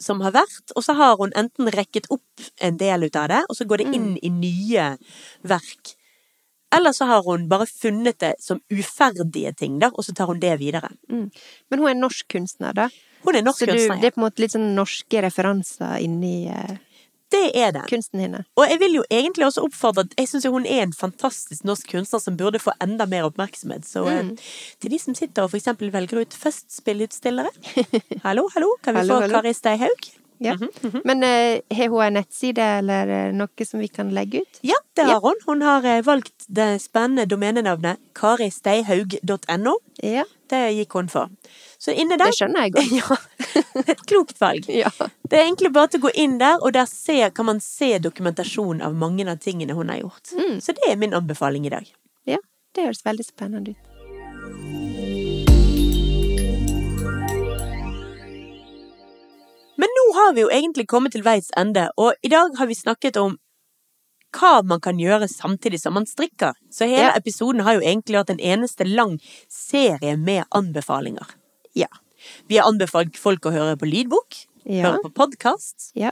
Speaker 2: som har vært, og så har hun enten rekket opp en del ut av det, og så går
Speaker 1: Mm.
Speaker 2: det inn i nye verk. Eller så har hun bare funnet det som uferdige ting, da, og så tar hun det videre.
Speaker 1: Mm. Men hun er en norsk kunstner, da.
Speaker 2: Hun er norsk altså.
Speaker 1: så du,
Speaker 2: kunstner.
Speaker 1: det
Speaker 2: ja.
Speaker 1: er på en måte litt sånn norske referanser inni eh,
Speaker 2: Det er det.
Speaker 1: kunsten hennes.
Speaker 2: Og jeg vil jo egentlig også oppfordre at jeg syns hun er en fantastisk norsk kunstner som burde få enda mer oppmerksomhet. Så eh,
Speaker 1: Mm.
Speaker 2: til de som sitter og for eksempel velger ut Festspillutstillere Hallo, hallo, kan vi
Speaker 1: Hallo,
Speaker 2: få
Speaker 1: hallo.
Speaker 2: Kari Steihaug?
Speaker 1: Ja.
Speaker 2: Mhm, mhm.
Speaker 1: Men eh, har hun en nettside eller eh, noe som vi kan legge ut?
Speaker 2: Ja, det har hun. Hun har eh, valgt det spennende domenenavnet karisteihaug.no.
Speaker 1: Ja,
Speaker 2: Det gikk hun for. Så inne der
Speaker 1: det skjønner jeg godt.
Speaker 2: Ja. Et klokt valg.
Speaker 1: Ja.
Speaker 2: Det er egentlig bare til å gå inn der, og der se, kan man se dokumentasjon av mange av tingene hun har gjort.
Speaker 1: Mm.
Speaker 2: Så det er min anbefaling i dag.
Speaker 1: ja, det høres veldig spennende ut.
Speaker 2: Men nå har vi jo egentlig kommet til veis ende, og i dag har vi snakket om hva man kan gjøre samtidig som man strikker. Så hele
Speaker 1: Ja.
Speaker 2: episoden har jo egentlig vært en eneste lang serie med anbefalinger.
Speaker 1: Ja.
Speaker 2: Vi har anbefalt folk å høre på lydbok,
Speaker 1: Ja.
Speaker 2: høre på podkast.
Speaker 1: ja.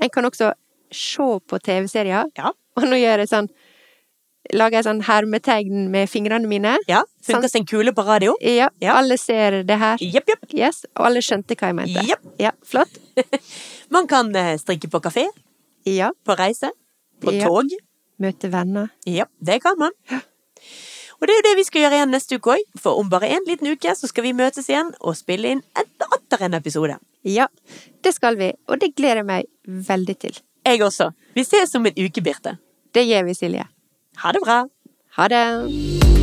Speaker 1: En kan også se på TV-serier,
Speaker 2: Ja.
Speaker 1: og nå gjør jeg sånn Lager jeg sånn hermetegn med fingrene mine.
Speaker 2: ja. Funker som en kule på radio.
Speaker 1: Ja,
Speaker 2: Ja.
Speaker 1: alle ser det her.
Speaker 2: Jepp, jepp.
Speaker 1: Yes, og alle skjønte hva jeg mente.
Speaker 2: Japp.
Speaker 1: Ja, flott.
Speaker 2: Man kan eh, strikke på kafé,
Speaker 1: Ja,
Speaker 2: på reise, på
Speaker 1: Ja.
Speaker 2: tog.
Speaker 1: møte venner.
Speaker 2: Ja, det kan man. Og det er jo det vi skal gjøre igjen neste uke òg, for om bare en liten uke så skal vi møtes igjen og spille inn et- atter en episode.
Speaker 1: Ja, det skal vi, og det gleder jeg meg veldig til.
Speaker 2: Jeg også. Vi ses om en uke, Birte.
Speaker 1: Det gjør vi, Silje.
Speaker 2: Ha det bra.
Speaker 1: Ha det!